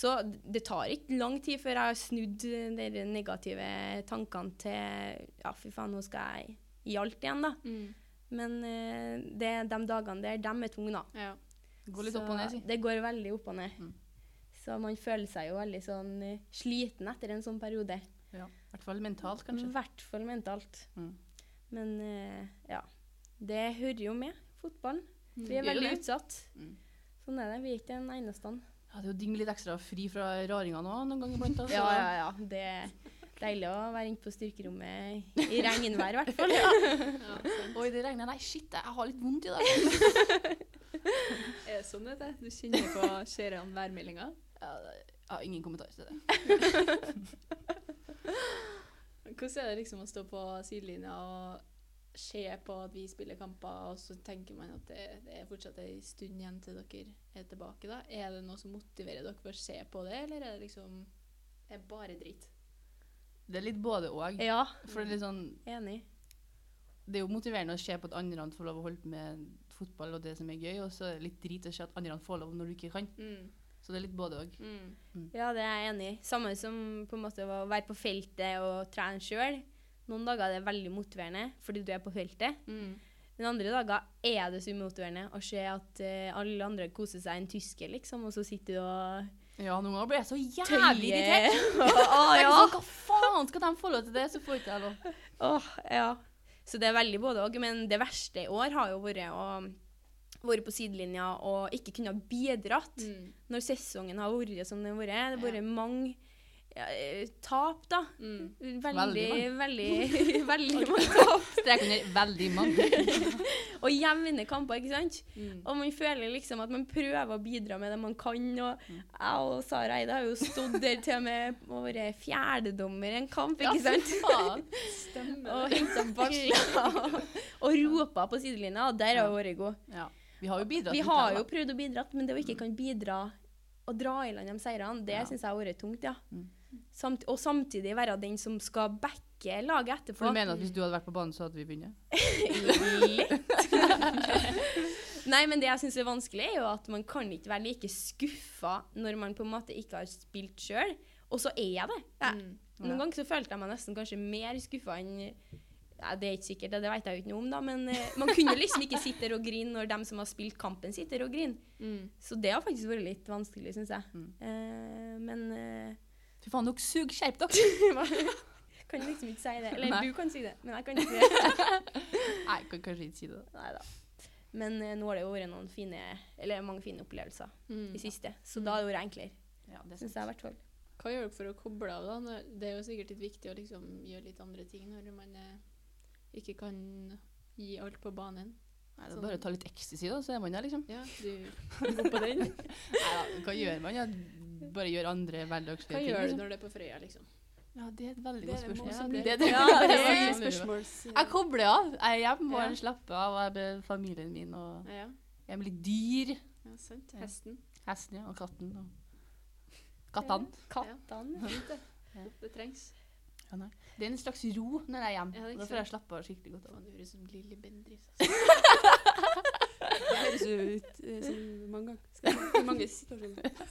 Speaker 4: Så det tar ikke lang tid før jeg har snudd de der negative tankene til Ja, fy faen, nå skal jeg i alt igjen, da.
Speaker 2: Mm.
Speaker 4: Men eh, det, de dagene der, dem er tunge, da.
Speaker 2: Ja.
Speaker 3: Gå litt
Speaker 4: Så
Speaker 3: opp og ned, si.
Speaker 4: Det går veldig opp og ned.
Speaker 3: Mm.
Speaker 4: Så man føler seg jo veldig sånn eh, sliten etter en sånn periode.
Speaker 3: Ja. I hvert fall mentalt,
Speaker 4: I
Speaker 3: kanskje.
Speaker 4: hvert fall mentalt.
Speaker 3: Mm.
Speaker 4: Men eh, ja. Det hører jo med fotballen.
Speaker 2: Mm.
Speaker 4: Vi er
Speaker 3: Gjør jo
Speaker 4: veldig
Speaker 3: det.
Speaker 4: utsatt.
Speaker 3: Mm.
Speaker 4: Sånn er det. Vi er ikke den eneste.
Speaker 3: Ja, det er jo digg med litt ekstra fri fra raringene òg noen ganger iblant. Altså.
Speaker 4: Ja, ja, ja. Det er deilig å være inne på styrkerommet i regnvær, i hvert fall.
Speaker 2: Ja, sant.
Speaker 3: Oi, det regner. Nei, shit, jeg har litt vondt i dag.
Speaker 2: Er det sånn det er? Du kjenner på ser an værmeldinga?
Speaker 3: Ja, Jeg har ingen kommentar til det.
Speaker 2: Hvordan er det liksom å stå på sidelinja og se på at vi spiller kamper, og så tenker man at det, det er fortsatt ei stund igjen til dere er tilbake? da? Er det noe som motiverer dere for å se på det, eller er det liksom er det bare dritt?
Speaker 3: Det er litt både òg.
Speaker 4: Ja,
Speaker 3: For det er litt sånn
Speaker 4: enig.
Speaker 3: det er jo motiverende å se på at andre får lov å holde med fotball og det som er gøy, og så er det litt drit å se at andre får lov når du ikke kan.
Speaker 2: Mm.
Speaker 3: Så det er litt både òg.
Speaker 2: Mm.
Speaker 4: Ja, det er jeg enig i. Samme som på en måte å være på feltet og trene sjøl. Noen dager er det veldig motiverende fordi du er på feltet.
Speaker 2: Mm.
Speaker 4: Men andre dager er det så umotiverende å se at eh, alle andre koser seg en tysker, liksom, og så sitter du og
Speaker 3: Ja, noen ganger blir jeg så jævlig irritert.
Speaker 4: tøyer. Å,
Speaker 3: Jeg er
Speaker 4: Ah, ja.
Speaker 3: sånn, Hva faen skal de få lov til det, så får ikke jeg lov.
Speaker 4: Åh, ja. Så det er veldig både òg. Men det verste i år har jo vært å være på sidelinja og ikke kunne ha bidratt
Speaker 2: Mm.
Speaker 4: når sesongen har vært som den har vært. Det har
Speaker 2: Ja.
Speaker 4: vært mange ja, eh, tap, da.
Speaker 2: Mm.
Speaker 4: Veldig, veldig, veldig mange tap.
Speaker 3: Strek under veldig mange.
Speaker 4: Og jevne kamper, ikke sant?
Speaker 2: Mm.
Speaker 4: Og man føler liksom at man prøver å bidra med det man kan. Og
Speaker 3: Mm.
Speaker 4: jeg og Sara Eide har jo stått der til og med og vært fjerdedommer i en kamp, ikke sant?
Speaker 3: Faen.
Speaker 2: Stemmer
Speaker 4: og
Speaker 2: det?
Speaker 4: henta baller og ropa på sidelinja, og der har hun vært god.
Speaker 3: Ja. Vi har jo bidratt.
Speaker 4: Vi
Speaker 3: litt
Speaker 4: har
Speaker 3: her,
Speaker 4: jo
Speaker 3: da.
Speaker 4: prøvd å bidra, men det å ikke kan bidra og dra i land de seirene, det
Speaker 3: Ja.
Speaker 4: synes syns jeg har vært tungt, ja.
Speaker 3: Mm.
Speaker 4: Samt, og samtidig være den som skal backe laget
Speaker 3: For
Speaker 4: etterpå.
Speaker 3: du mener at hvis du hadde vært på banen, så hadde vi vunnet?
Speaker 4: Litt. Nei, men det jeg syns er vanskelig, er jo at man kan ikke være like skuffa når man på en måte ikke har spilt sjøl. Og så er jeg det. Jeg,
Speaker 2: Mm.
Speaker 3: Ja.
Speaker 4: Noen ganger så følte jeg meg nesten kanskje mer skuffa enn ja, Det er ikke sikkert, det vet jeg jo ikke noe om, da, men eh, man kunne liksom ikke sitte der og grine når dem som har spilt kampen, sitter og griner.
Speaker 2: Mm.
Speaker 4: Så det har faktisk vært litt vanskelig, syns jeg.
Speaker 3: Mm.
Speaker 4: Eh, men eh,
Speaker 3: Fy faen, dere suger skjerp dere!
Speaker 4: kan liksom ikke si det. Eller
Speaker 3: Nei.
Speaker 4: du kan si det, men jeg kan ikke si det.
Speaker 3: Nei, jeg kan kanskje ikke si det.
Speaker 4: Nei da. Men eh, nå har det jo vært noen fine, eller mange fine opplevelser
Speaker 2: Mm.
Speaker 4: i siste, så da har det vært enklere,
Speaker 3: Ja, det
Speaker 4: syns jeg i hvert fall.
Speaker 2: Hva gjør dere for å koble av? da? Når- Det er jo sikkert litt viktig å liksom gjøre litt andre ting når man eh, ikke kan gi alt på banen.
Speaker 3: Nei, det er bare å ta litt ecstasy, da, så er man der, liksom.
Speaker 2: Ja, du går på den.
Speaker 3: Neida, hva gjør man? Ja, bare gjør andre hverdagslige
Speaker 2: Hva
Speaker 3: ting.
Speaker 2: gjør du
Speaker 3: liksom.
Speaker 2: når det er på Frøya, liksom?
Speaker 3: Ja, det er et veldig
Speaker 1: Det er
Speaker 3: godt
Speaker 1: det
Speaker 3: spørsmål.
Speaker 1: mange som
Speaker 3: Ja,
Speaker 1: lurer
Speaker 3: det,
Speaker 1: på. Ja,
Speaker 3: det,
Speaker 2: det er
Speaker 1: mange
Speaker 2: Ja.
Speaker 1: spørsmåls...
Speaker 3: Jeg kobler av. Jeg er hjemme og
Speaker 2: Ja.
Speaker 3: slapper av. og Jeg er med familien min og
Speaker 2: Ja,
Speaker 3: jeg er med litt dyr.
Speaker 2: ja. Ja, sant det.
Speaker 4: Hesten.
Speaker 3: Hesten, ja. Og katten. Og... Kattene.
Speaker 4: Kattene.
Speaker 3: Ja.
Speaker 2: Det trengs.
Speaker 3: Ja, nei. det er en slags ro når jeg er hjemme.
Speaker 2: Ja, det er ikke
Speaker 3: da får jeg slappe av skikkelig godt. av.
Speaker 2: Faen, det høres ut som Lilly Bendriss. altså.
Speaker 1: Det høres jo ut eh, som mange ganger. Skal jeg si, i mange situasjoner.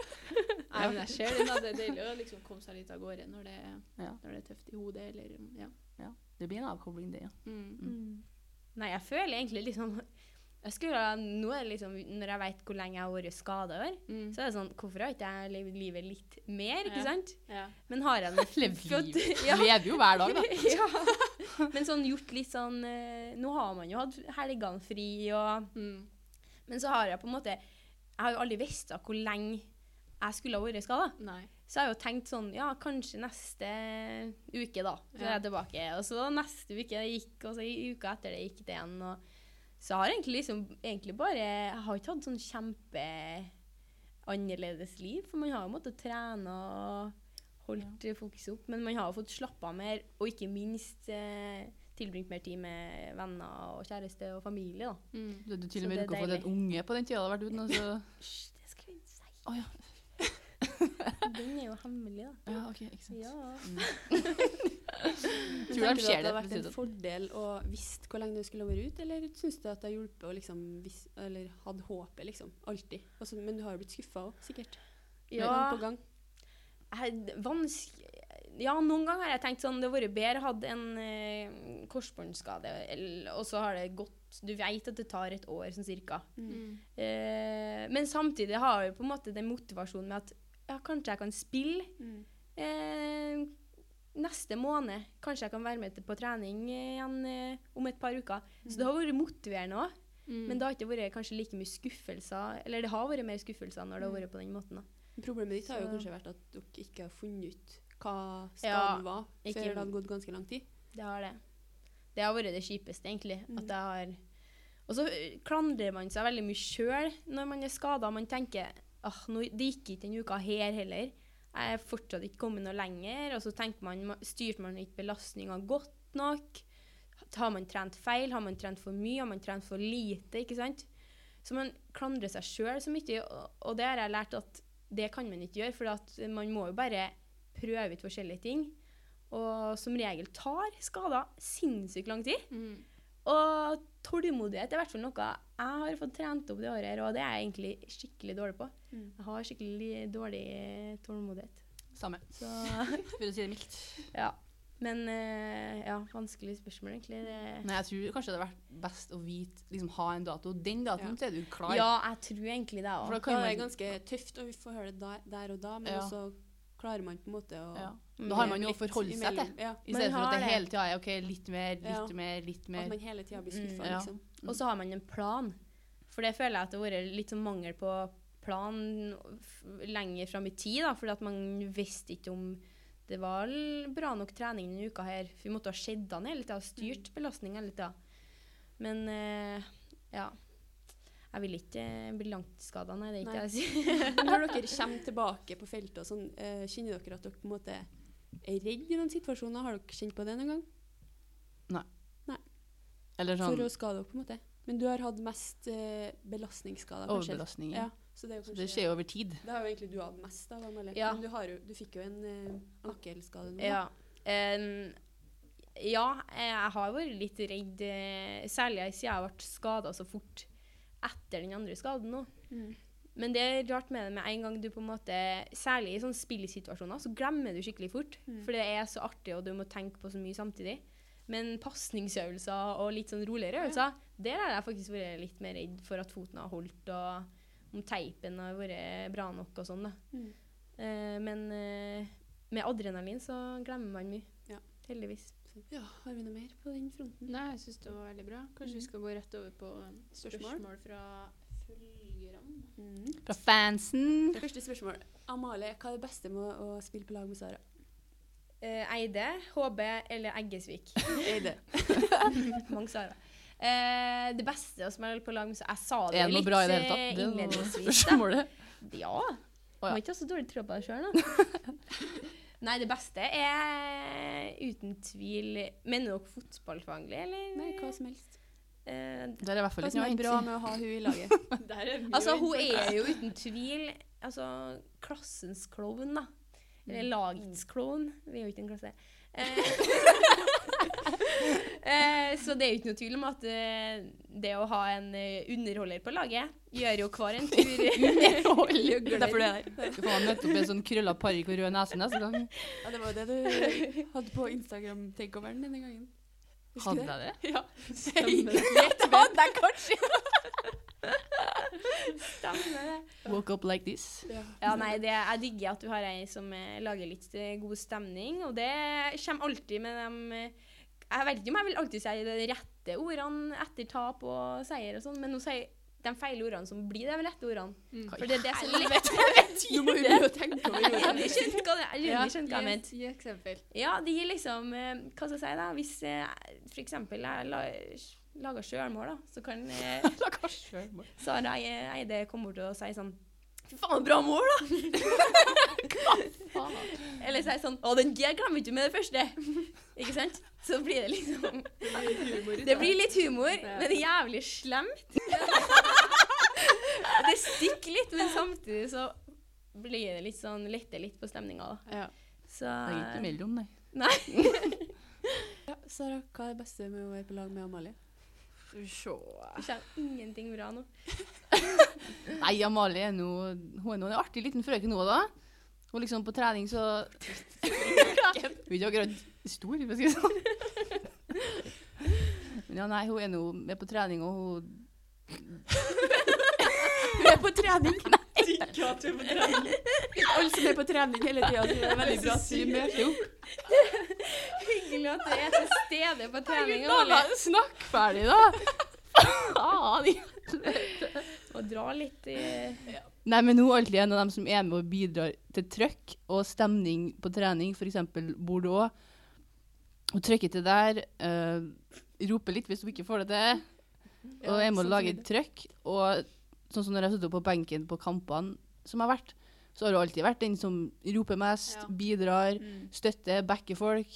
Speaker 2: Nei, men jeg ser den. da. Det er deilig å liksom komme seg litt av gårde når det,
Speaker 3: Ja.
Speaker 2: når det er tøft i hodet. Eller, mm, ja.
Speaker 3: Det blir en avkobling, det, ja.
Speaker 2: Mm.
Speaker 3: Mm.
Speaker 4: Nei, jeg føler egentlig liksom jeg skulle, ha- nå er det liksom, Når jeg vet hvor lenge jeg har vært skada,
Speaker 2: Mm.
Speaker 4: så er det sånn Hvorfor har ikke jeg levd livet litt mer, ikke
Speaker 2: Ja.
Speaker 4: sant?
Speaker 2: ja.
Speaker 4: Men har jeg nok
Speaker 3: Levd
Speaker 4: fått-
Speaker 3: livet.
Speaker 4: Ja.
Speaker 3: Lever jo hver dag, da.
Speaker 4: ja. Men sånn gjort litt sånn eh, Nå har man jo hatt helgene fri og
Speaker 2: Mm.
Speaker 4: Men så har jeg på en måte Jeg har jo aldri visst da hvor lenge jeg skulle ha vært skada.
Speaker 2: Nei.
Speaker 4: Så jeg har jo tenkt sånn Ja, kanskje neste uke, da. Så er jeg tilbake. Og så neste uke det gikk, og så i uka etter det gikk det igjen. Og så har jeg egentlig liksom egentlig bare Jeg har ikke hatt sånn kjempe annerledes liv, for man har jo måttet trene og holdt fokuset opp, men man har jo fått slappa av mer, og ikke minst eh, tilbringt mer tid med venner og kjæreste og familie, da.
Speaker 2: Mm.
Speaker 3: Du hadde til
Speaker 4: Så
Speaker 3: og med
Speaker 4: det er
Speaker 3: rukket å få
Speaker 4: deilig.
Speaker 3: en unge på den tida du har vært ute. nå, så-
Speaker 4: Hysj, det skal vi ikke si.
Speaker 3: Å ja.
Speaker 4: Den er jo hemmelig, da.
Speaker 3: ja. ok, ikke sant.
Speaker 4: Ja.
Speaker 1: Men
Speaker 3: Tror de
Speaker 1: tenker du
Speaker 3: ser
Speaker 1: at det har
Speaker 3: det, for å
Speaker 1: vært
Speaker 3: si
Speaker 1: en
Speaker 3: det.
Speaker 1: fordel å visst hvor lenge du skulle ha vært ute, eller syns du at det har hjulpet å liksom vis, Eller hadde håpet, liksom. Alltid. Og så- men du har jo blitt skuffa òg, sikkert. Gang på gang.
Speaker 4: Jeg- vanske- ja, noen ganger har jeg tenkt sånn Det hadde vært bedre å ha en eh, korsbåndskade, eller- og så har det gått Du vet at det tar et år, sånn cirka.
Speaker 2: Mm.
Speaker 4: Eh, men samtidig har jeg jo på en måte den motivasjonen med at ja, kanskje jeg kan spille
Speaker 1: Mm.
Speaker 4: eh, neste måned. Kanskje jeg kan være med til- på trening eh, igjen eh, om et par uker. Så det har vært motiverende òg.
Speaker 2: Mm.
Speaker 4: Men det har ikke vært kanskje like mye skuffelser. Eller det har vært mer skuffelser når det har vært på den måten. da.
Speaker 1: Problemet ditt har jo
Speaker 4: Så-
Speaker 1: kanskje vært at dere ikke har funnet ut hva
Speaker 4: Ja,
Speaker 1: skaden var,
Speaker 4: ikke-
Speaker 1: før det hadde gått ganske lang tid.
Speaker 4: Det har det. Det har vært det kjipeste, egentlig.
Speaker 1: Mm.
Speaker 4: At jeg har Og så ø, klandrer man seg veldig mye sjøl når man er skada. Man tenker ah, nå, det gikk ikke denne uka her heller. Jeg er fortsatt ikke kommet noe lenger. Og så tenker man, ma- styrte man ikke belastninga godt nok? Har man trent feil? Har man trent for mye? Har man trent for lite? Ikke sant? Så man klandrer seg sjøl så mye, og, og det har jeg lært at det kan man ikke gjøre. For at man må jo bare prøve ut forskjellige ting. Og som regel tar skader sinnssykt lang tid.
Speaker 2: Mm.
Speaker 4: Og tålmodighet er i hvert fall noe jeg har fått trent opp det året, her, og det er jeg egentlig skikkelig dårlig på.
Speaker 1: Mm.
Speaker 4: Jeg har skikkelig dårlig eh, tålmodighet.
Speaker 3: Samme,
Speaker 4: Så
Speaker 3: for å si det mildt.
Speaker 4: ja. Men eh, ja, vanskelig spørsmål, egentlig. Det.
Speaker 3: Nei, jeg tror kanskje det hadde vært best å vite, liksom ha en dato. Den datoen,
Speaker 1: Ja.
Speaker 3: så er du klar.
Speaker 4: Ja, jeg tror egentlig det
Speaker 3: For da
Speaker 4: òg.
Speaker 1: Da
Speaker 3: kan
Speaker 1: er det
Speaker 3: man,
Speaker 1: ganske tøft, og vi får høre det der, der og da, men
Speaker 3: Ja.
Speaker 1: også klarer man på en måte å
Speaker 3: ja.
Speaker 4: Mm.
Speaker 3: Da har man jo å forholde seg til.
Speaker 1: Ja,
Speaker 3: I
Speaker 4: Man
Speaker 3: stedet for
Speaker 4: har
Speaker 3: at det
Speaker 4: det.
Speaker 3: hele tida er OK, litt mer, litt
Speaker 1: Ja.
Speaker 3: mer, litt
Speaker 1: at
Speaker 3: mer.
Speaker 1: man hele tida blir
Speaker 4: Mm,
Speaker 1: skuffa,
Speaker 3: ja.
Speaker 1: liksom.
Speaker 4: Og så har man en plan. For det føler jeg at det har vært litt sånn mangel på plan f- lenger fram i tid. da, fordi at man visste ikke om det var l- bra nok trening denne uka her. For vi måtte ha sett an hele tida, styrt belastninga hele tida. Men eh, ja. Jeg vil ikke eh, bli langtidsskada, nei. Det er ikke
Speaker 1: Nei.
Speaker 4: det jeg
Speaker 1: Men
Speaker 4: sier.
Speaker 1: Når dere kommer tilbake på feltet, og sånn, eh, kjenner dere at dere på en måte er redd i noen situasjoner? Har dere kjent på det noen gang?
Speaker 3: Eller
Speaker 1: For
Speaker 3: sånn
Speaker 1: å skade dere, på en måte. Men du har hatt mest eh, belastningsskader, kanskje?
Speaker 3: overbelastning.
Speaker 1: Ja, så det, er jo
Speaker 3: Så
Speaker 1: kanskje,
Speaker 3: det skjer jo over tid.
Speaker 1: Det har jo egentlig du hatt mest av, Amalie.
Speaker 4: Ja.
Speaker 1: Men du, har jo, du fikk jo en eh, ankelskade nå.
Speaker 4: Ja. Em, ja, eh, jeg har vært litt redd, eh, særlig siden jeg ble skada så fort etter den andre skaden. nå.
Speaker 1: Mm.
Speaker 4: Men det er rart med det med en gang du på en måte Særlig i sånne spillsituasjoner, så glemmer du skikkelig fort.
Speaker 1: Mm.
Speaker 4: For det er så artig, og du må tenke på så mye samtidig. Men pasningsøvelser og litt sånn roligere øvelser, der har jeg faktisk vært litt mer redd for at foten har holdt, og om teipen har vært bra nok og sånn, da.
Speaker 1: Mm.
Speaker 4: Eh, men eh, med adrenalin så glemmer man mye.
Speaker 1: Ja.
Speaker 4: Heldigvis.
Speaker 1: Ja, har vi noe mer på den fronten?
Speaker 2: Nei, jeg syns det var veldig bra. Kanskje vi skal gå rett over på Mm. um, spørsmål,
Speaker 1: Spørsmål
Speaker 2: fra følgerne.
Speaker 3: Fra fansen.
Speaker 1: Mm. Første spørsmål. Amalie, hva er det beste med å, å spille på lag med Sara?
Speaker 4: Eh, Eide, HB eller Eggesvik?
Speaker 1: Eide.
Speaker 4: Mange Sara. Eh, det beste å spille på lag med så Jeg sa det
Speaker 3: Er det
Speaker 4: jo
Speaker 3: noe
Speaker 4: litt
Speaker 3: bra i det hele
Speaker 4: eh,
Speaker 3: tatt? Det er jo
Speaker 4: innledningsvis. da.
Speaker 3: spørsmålet.
Speaker 4: Ja.
Speaker 3: ja.
Speaker 4: Må ikke ha så dårlig tro på deg sjøl, da. Nei, det beste er uten tvil Mener dere fotballfaglig, eller?
Speaker 1: Nei, hva som helst.
Speaker 4: Eh, eh,
Speaker 3: Det er i hvert fall
Speaker 1: Hva som
Speaker 3: ikke noe
Speaker 1: er
Speaker 3: å
Speaker 1: bra
Speaker 3: hente.
Speaker 1: med å ha hun i laget?
Speaker 4: Altså, hun er jo uten tvil altså, klassens klovn, da. Eller lagets klovn. Vi er jo ikke en klasse. Eh, eh, så det er jo ikke noe tvil om at eh, det å ha en eh, underholder på laget gjør jo hver en tur Underholder?
Speaker 3: Derfor det er her. Du får møte opp med en sånn krølla parykk og rød nese neste gang.
Speaker 1: Ja, det var jo det du hadde på Instagram-takeoveren denne gangen.
Speaker 3: Hadde jeg det?
Speaker 1: Ja.
Speaker 4: Hadde jeg kanskje Stemmer det.
Speaker 3: Woke up like this.
Speaker 4: Ja, nei, det, jeg digger at du har ei som eh, lager litt eh, god stemning, og det kommer alltid med dem eh, Jeg vet ikke om jeg vil alltid si de rette ordene etter tap og seier og sånn, men hun sier de feile ordene som blir de rette ordene.
Speaker 2: Mm.
Speaker 4: For det er det som er lett.
Speaker 1: Nå må hun begynne å tenke over
Speaker 4: Jeg
Speaker 1: det.
Speaker 4: har skjønt hva det- jeg har skjønt hva jeg mente.
Speaker 2: Gi eksempel.
Speaker 4: Ja, det gir liksom eh, Hva skal jeg si, da? Hvis eh, for eksempel jeg la, lager sjølmål, da, så kan eh, Sara Ei- Eide komme bort og si sånn Fy faen, bra mål, da!
Speaker 3: altså.
Speaker 4: Eller si sånn Å, den der glemmer ikke du med det første! Ikke sant? Så blir det liksom Det blir litt humor, men det er jævlig slemt. Og det stikker litt, men samtidig så blir det litt sånn Letter litt på stemninga, da.
Speaker 1: Ja.
Speaker 4: Så
Speaker 3: Det er ikke mellom, nei.
Speaker 1: Ja, Sara, hva er det beste med å være på lag med Amalie?
Speaker 4: Det kommer ingenting bra nå.
Speaker 3: Nei, Amalie er nå Hun er nå en artig liten frøken nå, da. Hun liksom på trening, så Hun er ikke akkurat stor, for å si det sånn. Men ja, nei, hun er nå med på trening, og hun Hun er på trening?
Speaker 1: Alle som er på trening hele tida, så det er veldig bra at vi møter opp.
Speaker 4: Hyggelig at du er til stede på trening.
Speaker 3: la henne snakke ferdig, da! Faen! ja.
Speaker 4: Og dra litt i
Speaker 3: Nei, men hun er alltid en av dem som er med og bidrar til trøkk og stemning på trening, f.eks. Bordeaux. Hun trykker til der, eh, roper litt hvis hun ikke får det til, og jeg må lage et trøkk. Og sånn som når jeg har sittet på benken på kampene som har vært, så har hun alltid vært den som roper mest,
Speaker 2: Ja.
Speaker 3: bidrar, støtter, backer folk.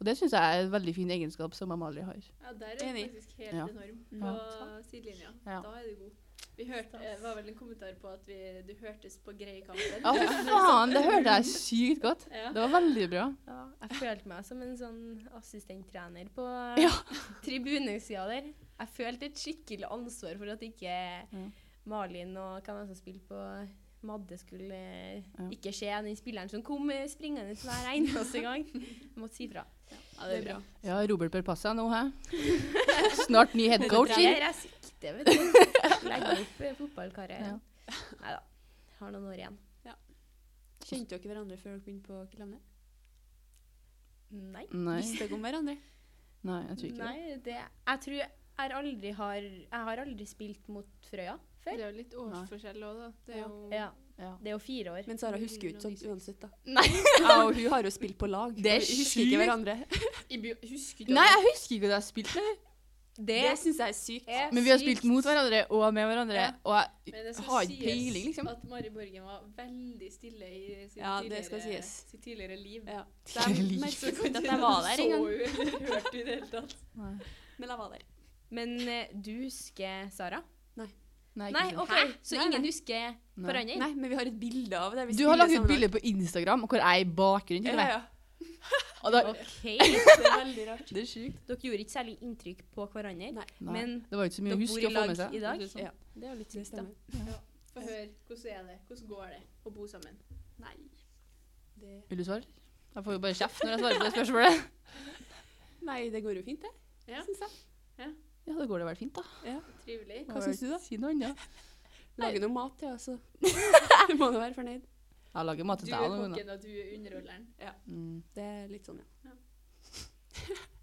Speaker 3: Og det syns jeg er en veldig fin egenskap som Amalie har.
Speaker 2: Ja, der er du
Speaker 1: Enig.
Speaker 2: faktisk helt
Speaker 3: Ja.
Speaker 2: enorm på
Speaker 3: Ja.
Speaker 2: sidelinja.
Speaker 3: Ja.
Speaker 2: Da er du god. Vi hørte, eh, det var vel en kommentar på at vi, du hørtes på Greikampen.
Speaker 3: Ja, fy faen, det hørte jeg sykt godt.
Speaker 2: Ja.
Speaker 3: Det var veldig bra.
Speaker 4: ja, Jeg følte meg som en sånn assistenttrener på
Speaker 3: Ja.
Speaker 4: tribunesida der. Jeg følte et skikkelig ansvar for at ikke
Speaker 3: Ja.
Speaker 4: Malin og hvem var det som spilte på Madde, skulle eh,
Speaker 3: Ja.
Speaker 4: ikke se den spilleren som kom eh, springende hver eneste gang. Jeg måtte si fra.
Speaker 2: Ja, det er bra.
Speaker 3: Ja, Robert bør passe seg nå, hæ? Snart ny head coach
Speaker 4: Jeg
Speaker 3: inn.
Speaker 4: er sikte, vet du. Legge opp eh, fotballkarrieren. Nei da. Har noen år igjen.
Speaker 1: Kjente dere hverandre før dere begynte på Klemne?
Speaker 4: Nei.
Speaker 3: Nei,
Speaker 1: Visste dere om hverandre?
Speaker 3: nei, jeg tror ikke det.
Speaker 4: Nei, det Jeg tror jeg aldri har Jeg har aldri spilt mot Frøya
Speaker 2: Det
Speaker 4: før.
Speaker 2: er jo litt årsforskjell òg, da. Det er
Speaker 1: Ja.
Speaker 2: jo
Speaker 4: Ja,
Speaker 3: Ja.
Speaker 4: det er jo fire år.
Speaker 1: Men Sara husker jo ikke sånn uansett, da.
Speaker 4: Nei.
Speaker 1: Ja, og hun har jo spilt på lag.
Speaker 3: Det er
Speaker 1: Vi husker ikke
Speaker 3: sjukt.
Speaker 1: hverandre.
Speaker 2: I by- Husker
Speaker 3: Nei, jeg husker ikke hva jeg har spilt med.
Speaker 4: Det
Speaker 1: Det syns jeg er sykt.
Speaker 4: er
Speaker 3: Men vi har
Speaker 4: sykt.
Speaker 3: spilt mot hverandre og med hverandre.
Speaker 2: Ja.
Speaker 3: Og jeg,
Speaker 2: Men det skal
Speaker 3: Har
Speaker 2: sies
Speaker 3: ikke peiling, liksom.
Speaker 2: at Mari Borgen var veldig stille i sitt,
Speaker 1: Ja,
Speaker 2: tidligere,
Speaker 1: det skal sies.
Speaker 2: sitt tidligere liv.
Speaker 1: Ja. Så
Speaker 3: Jeg
Speaker 1: jeg
Speaker 3: liker
Speaker 1: merker
Speaker 2: kan
Speaker 1: ikke at
Speaker 2: du-
Speaker 1: jeg var der engang.
Speaker 2: Så hun eller hørte i det hele tatt.
Speaker 1: Men jeg var der.
Speaker 4: Men eh, du husker Sara?
Speaker 3: nei,
Speaker 4: Nei,
Speaker 3: ikke sant.
Speaker 4: OK, så
Speaker 1: Nei, nei.
Speaker 4: ingen husker
Speaker 3: Nei.
Speaker 4: hverandre?
Speaker 1: Nei, men vi har et bilde av det. Vi
Speaker 3: Du har lagt ut
Speaker 1: spiller
Speaker 3: bilde på Instagram hvor jeg er i bakgrunnen. til
Speaker 1: sammen.
Speaker 3: og
Speaker 1: Ja, ja.
Speaker 3: med. Og da,
Speaker 4: OK.
Speaker 1: Det er veldig rart.
Speaker 3: det er sjukt.
Speaker 4: Dere gjorde ikke særlig inntrykk på hverandre,
Speaker 1: Nei.
Speaker 3: Nei,
Speaker 4: men
Speaker 3: det var ikke så mye
Speaker 4: dere
Speaker 3: å
Speaker 4: bor
Speaker 3: huske
Speaker 4: i
Speaker 3: å få
Speaker 4: lag
Speaker 3: med seg.
Speaker 4: i dag.
Speaker 3: Det er sånn.
Speaker 1: Ja.
Speaker 4: det er jo litt
Speaker 1: Det
Speaker 4: sykt, da.
Speaker 1: stemmer.
Speaker 2: Få høre, hvordan er det? Hvordan går det å bo sammen? Nei.
Speaker 1: Det...
Speaker 3: Vil du svare? Jeg får jo bare kjeft når jeg svarer på det spørsmålet.
Speaker 1: Nei, det går jo fint, det.
Speaker 2: Ja.
Speaker 1: Synes jeg.
Speaker 3: Ja, da går det vel fint, da.
Speaker 2: Trivelig.
Speaker 1: Hva syns du, da?
Speaker 3: Si noe annet.
Speaker 1: Lage noe mat til, altså. Du må nå være fornøyd.
Speaker 3: Jeg lager mat
Speaker 2: Du
Speaker 3: til
Speaker 2: er
Speaker 3: deg. noen ganger.
Speaker 2: kokken, og du er underholderen.
Speaker 3: Mm.
Speaker 1: Det er litt sånn, ja.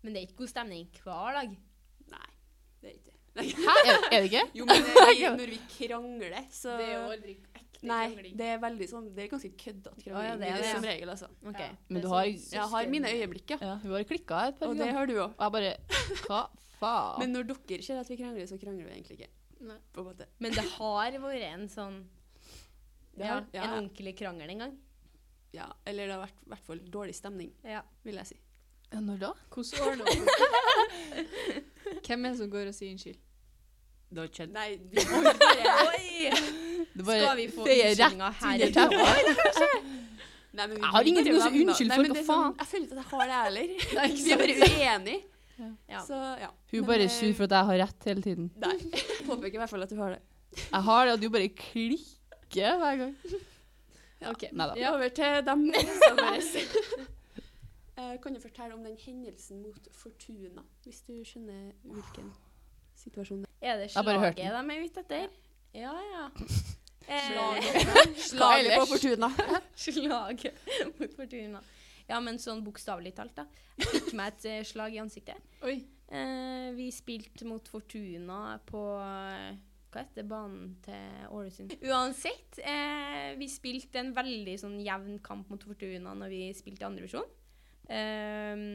Speaker 4: Men det er ikke god stemning hver dag.
Speaker 1: Nei, det er ikke det.
Speaker 3: Hæ, er, er det ikke?
Speaker 1: Jo, men eh, når vi krangler, så
Speaker 2: Det er jo aldri ekte
Speaker 1: Nei,
Speaker 2: krangling.
Speaker 1: det er veldig sånn Det er ganske køddete krangling.
Speaker 4: Å, ja, det
Speaker 1: blir
Speaker 4: er det, ja.
Speaker 1: som regel, altså.
Speaker 4: OK.
Speaker 2: Ja.
Speaker 3: Men
Speaker 2: Det
Speaker 3: du
Speaker 2: er
Speaker 3: har,
Speaker 2: sånn
Speaker 1: Jeg har mine øyeblikk, ja.
Speaker 3: ja, hun har klikka et par
Speaker 1: Og det
Speaker 3: ganger.
Speaker 1: har du òg.
Speaker 3: Og jeg bare Hva faen?
Speaker 1: Men når dere ser at vi krangler, så krangler vi egentlig ikke.
Speaker 2: Nei.
Speaker 1: På en måte.
Speaker 4: Men det har vært en sånn
Speaker 1: Det har-
Speaker 4: ja,
Speaker 1: ja,
Speaker 4: En
Speaker 1: ja.
Speaker 4: ordentlig krangel en gang.
Speaker 1: Ja, eller det har vært i hvert fall dårlig stemning,
Speaker 4: Ja.
Speaker 1: vil jeg si.
Speaker 3: Ja, når da?
Speaker 2: Hvordan ordner man det? Hvem er det som går og sier unnskyld?
Speaker 3: Det har ikke skjedd.
Speaker 1: Nei, vi må jo bare
Speaker 3: Det bare-
Speaker 4: Skal vi få
Speaker 3: det er rett
Speaker 4: unnskyldninger her?
Speaker 3: under teppet.
Speaker 1: Nei, men vi
Speaker 3: Jeg har ingenting å si
Speaker 1: prøver, da.
Speaker 3: unnskyld
Speaker 1: Nei,
Speaker 3: for,
Speaker 1: men det
Speaker 3: hva
Speaker 1: er sånn-
Speaker 3: faen?
Speaker 1: Jeg føler ikke at jeg har det heller.
Speaker 4: Nei, ikke
Speaker 1: Vi er bare
Speaker 4: sant?
Speaker 1: uenige.
Speaker 4: Ja.
Speaker 1: Så ja.
Speaker 3: Hun
Speaker 1: Men, eh,
Speaker 3: bare er sur for at jeg har rett hele tiden.
Speaker 1: Nei. Jeg Påpeker i hvert fall at du har det.
Speaker 3: Jeg har det, og du bare klikker hver gang.
Speaker 2: Ok.
Speaker 3: Nei da.
Speaker 1: Ja, over til dem. som våre. Eh, Kan du fortelle om den hendelsen mot Fortuna, hvis du skjønner hvilken situasjon det er?
Speaker 4: Er det
Speaker 3: har bare hørt
Speaker 4: slaget de er ute etter? Ja, ja. Eh,
Speaker 1: Slaget på
Speaker 3: Eh, ellers?
Speaker 1: Fortuna.
Speaker 4: Slaget mot Fortuna. Ja, men sånn bokstavelig talt, da. Jeg fikk meg et eh, slag i ansiktet.
Speaker 2: Oi.
Speaker 4: Eh, vi spilte mot Fortuna på eh, hva heter banen til Ålesund? Uansett, eh, vi spilte en veldig sånn jevn kamp mot Fortuna når vi spilte i andre divisjon. Eh,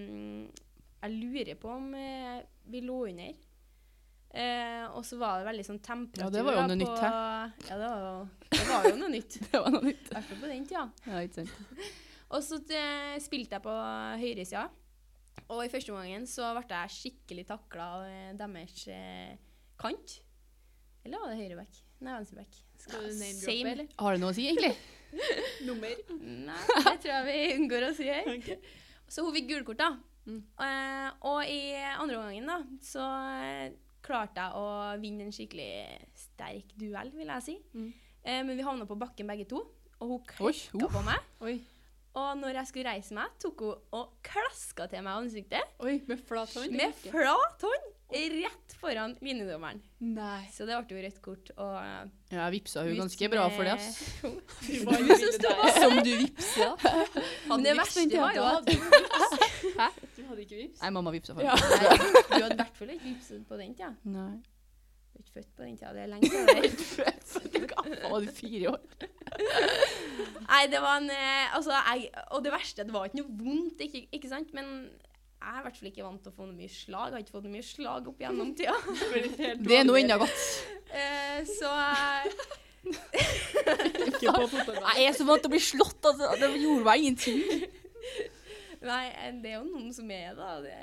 Speaker 4: jeg lurer på om eh, vi lå under. Eh, og så var det veldig sånn temperatur
Speaker 3: Ja, det var jo
Speaker 4: da,
Speaker 3: noe
Speaker 4: på,
Speaker 3: nytt
Speaker 4: Ja, det var, jo- det var jo noe nytt.
Speaker 3: Det var noe nytt.
Speaker 4: I hvert fall på den tida.
Speaker 3: Ja, ikke sant.
Speaker 4: Og så eh, spilte jeg på høyresida. Og i første omgangen så ble jeg skikkelig takla av eh, deres eh, kant. Eller var det høyreback? Nei, venstreback.
Speaker 2: Skal du
Speaker 4: Ja,
Speaker 2: name-droppe,
Speaker 4: same.
Speaker 2: eller?
Speaker 3: Har det noe å si, egentlig?
Speaker 1: Nummer.
Speaker 4: Nei, det tror jeg vi unngår å si her. Så hun fikk gult kort, da.
Speaker 2: Mm.
Speaker 4: Eh, og i andre omgangen da, så eh, klarte jeg å vinne en skikkelig sterk duell, vil jeg si.
Speaker 2: Mm.
Speaker 4: Eh, men vi havna på bakken begge to, og hun
Speaker 3: Oi,
Speaker 4: klikka på meg.
Speaker 2: Oi.
Speaker 4: Og når jeg skulle reise meg, tok hun og klaska til meg i ansiktet.
Speaker 2: Oi, med flat hånd?
Speaker 4: Med flat hånd rett foran linjedommeren.
Speaker 2: Nei.
Speaker 4: Så det ble jo rødt kort. Og
Speaker 3: Ja, jeg vipsa hun
Speaker 4: ut
Speaker 3: ganske bra for det,
Speaker 4: med-
Speaker 3: ass.
Speaker 2: Du var jo ville der.
Speaker 3: Som du vipsa.
Speaker 4: Men det verste var jo
Speaker 2: Du
Speaker 4: at
Speaker 2: hadde ikke vips.
Speaker 3: Hæ?
Speaker 2: Du hadde ikke vips?
Speaker 3: Nei, mamma vipsa for
Speaker 1: Ja.
Speaker 3: meg.
Speaker 4: Nei, Du hadde i hvert fall ikke vipset på den tida.
Speaker 3: Nei.
Speaker 4: Du er ikke født på den tida, det er lenge siden.
Speaker 3: Å, var du fire år?
Speaker 4: Nei, det var en eh, Altså, jeg Og det verste, det var ikke noe vondt, ikke, ikke sant? Men jeg er i hvert fall ikke vant til å få noe mye slag. Jeg har ikke fått noe mye slag opp gjennom tida.
Speaker 3: Det er noe ennå godt.
Speaker 4: Eh, så
Speaker 2: Ikke på fotballbanen.
Speaker 3: Jeg er så vant til å bli slått, altså. Det gjorde meg ingenting.
Speaker 4: Nei, eh, det er jo noen som er da. Det,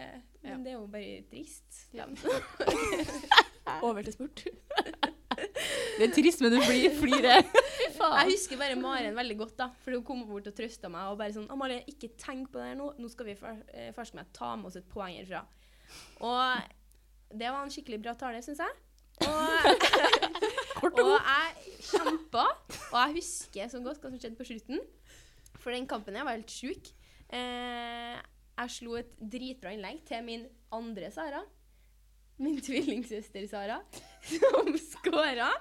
Speaker 2: Ja.
Speaker 4: men det er jo bare trist.
Speaker 2: Ja.
Speaker 1: Over til sport.
Speaker 3: Det er trist, men du blir flirer.
Speaker 4: Jeg husker bare Maren veldig godt, da. For hun kom bort og trøsta meg. Og bare sånn 'Amalie, ikke tenk på det her nå. Nå skal vi fer- eh, ferske meg ta med oss et poeng herfra'. Og det var en skikkelig bra tale, syns jeg. Og,
Speaker 3: Kort og
Speaker 4: og
Speaker 3: godt.
Speaker 4: jeg kjempa, og jeg husker så godt hva som skjedde på slutten. For den kampen jeg var helt sjuk. Eh, jeg slo et dritbra innlegg til min andre Sara. Min tvillingsøster Sara, som skåra.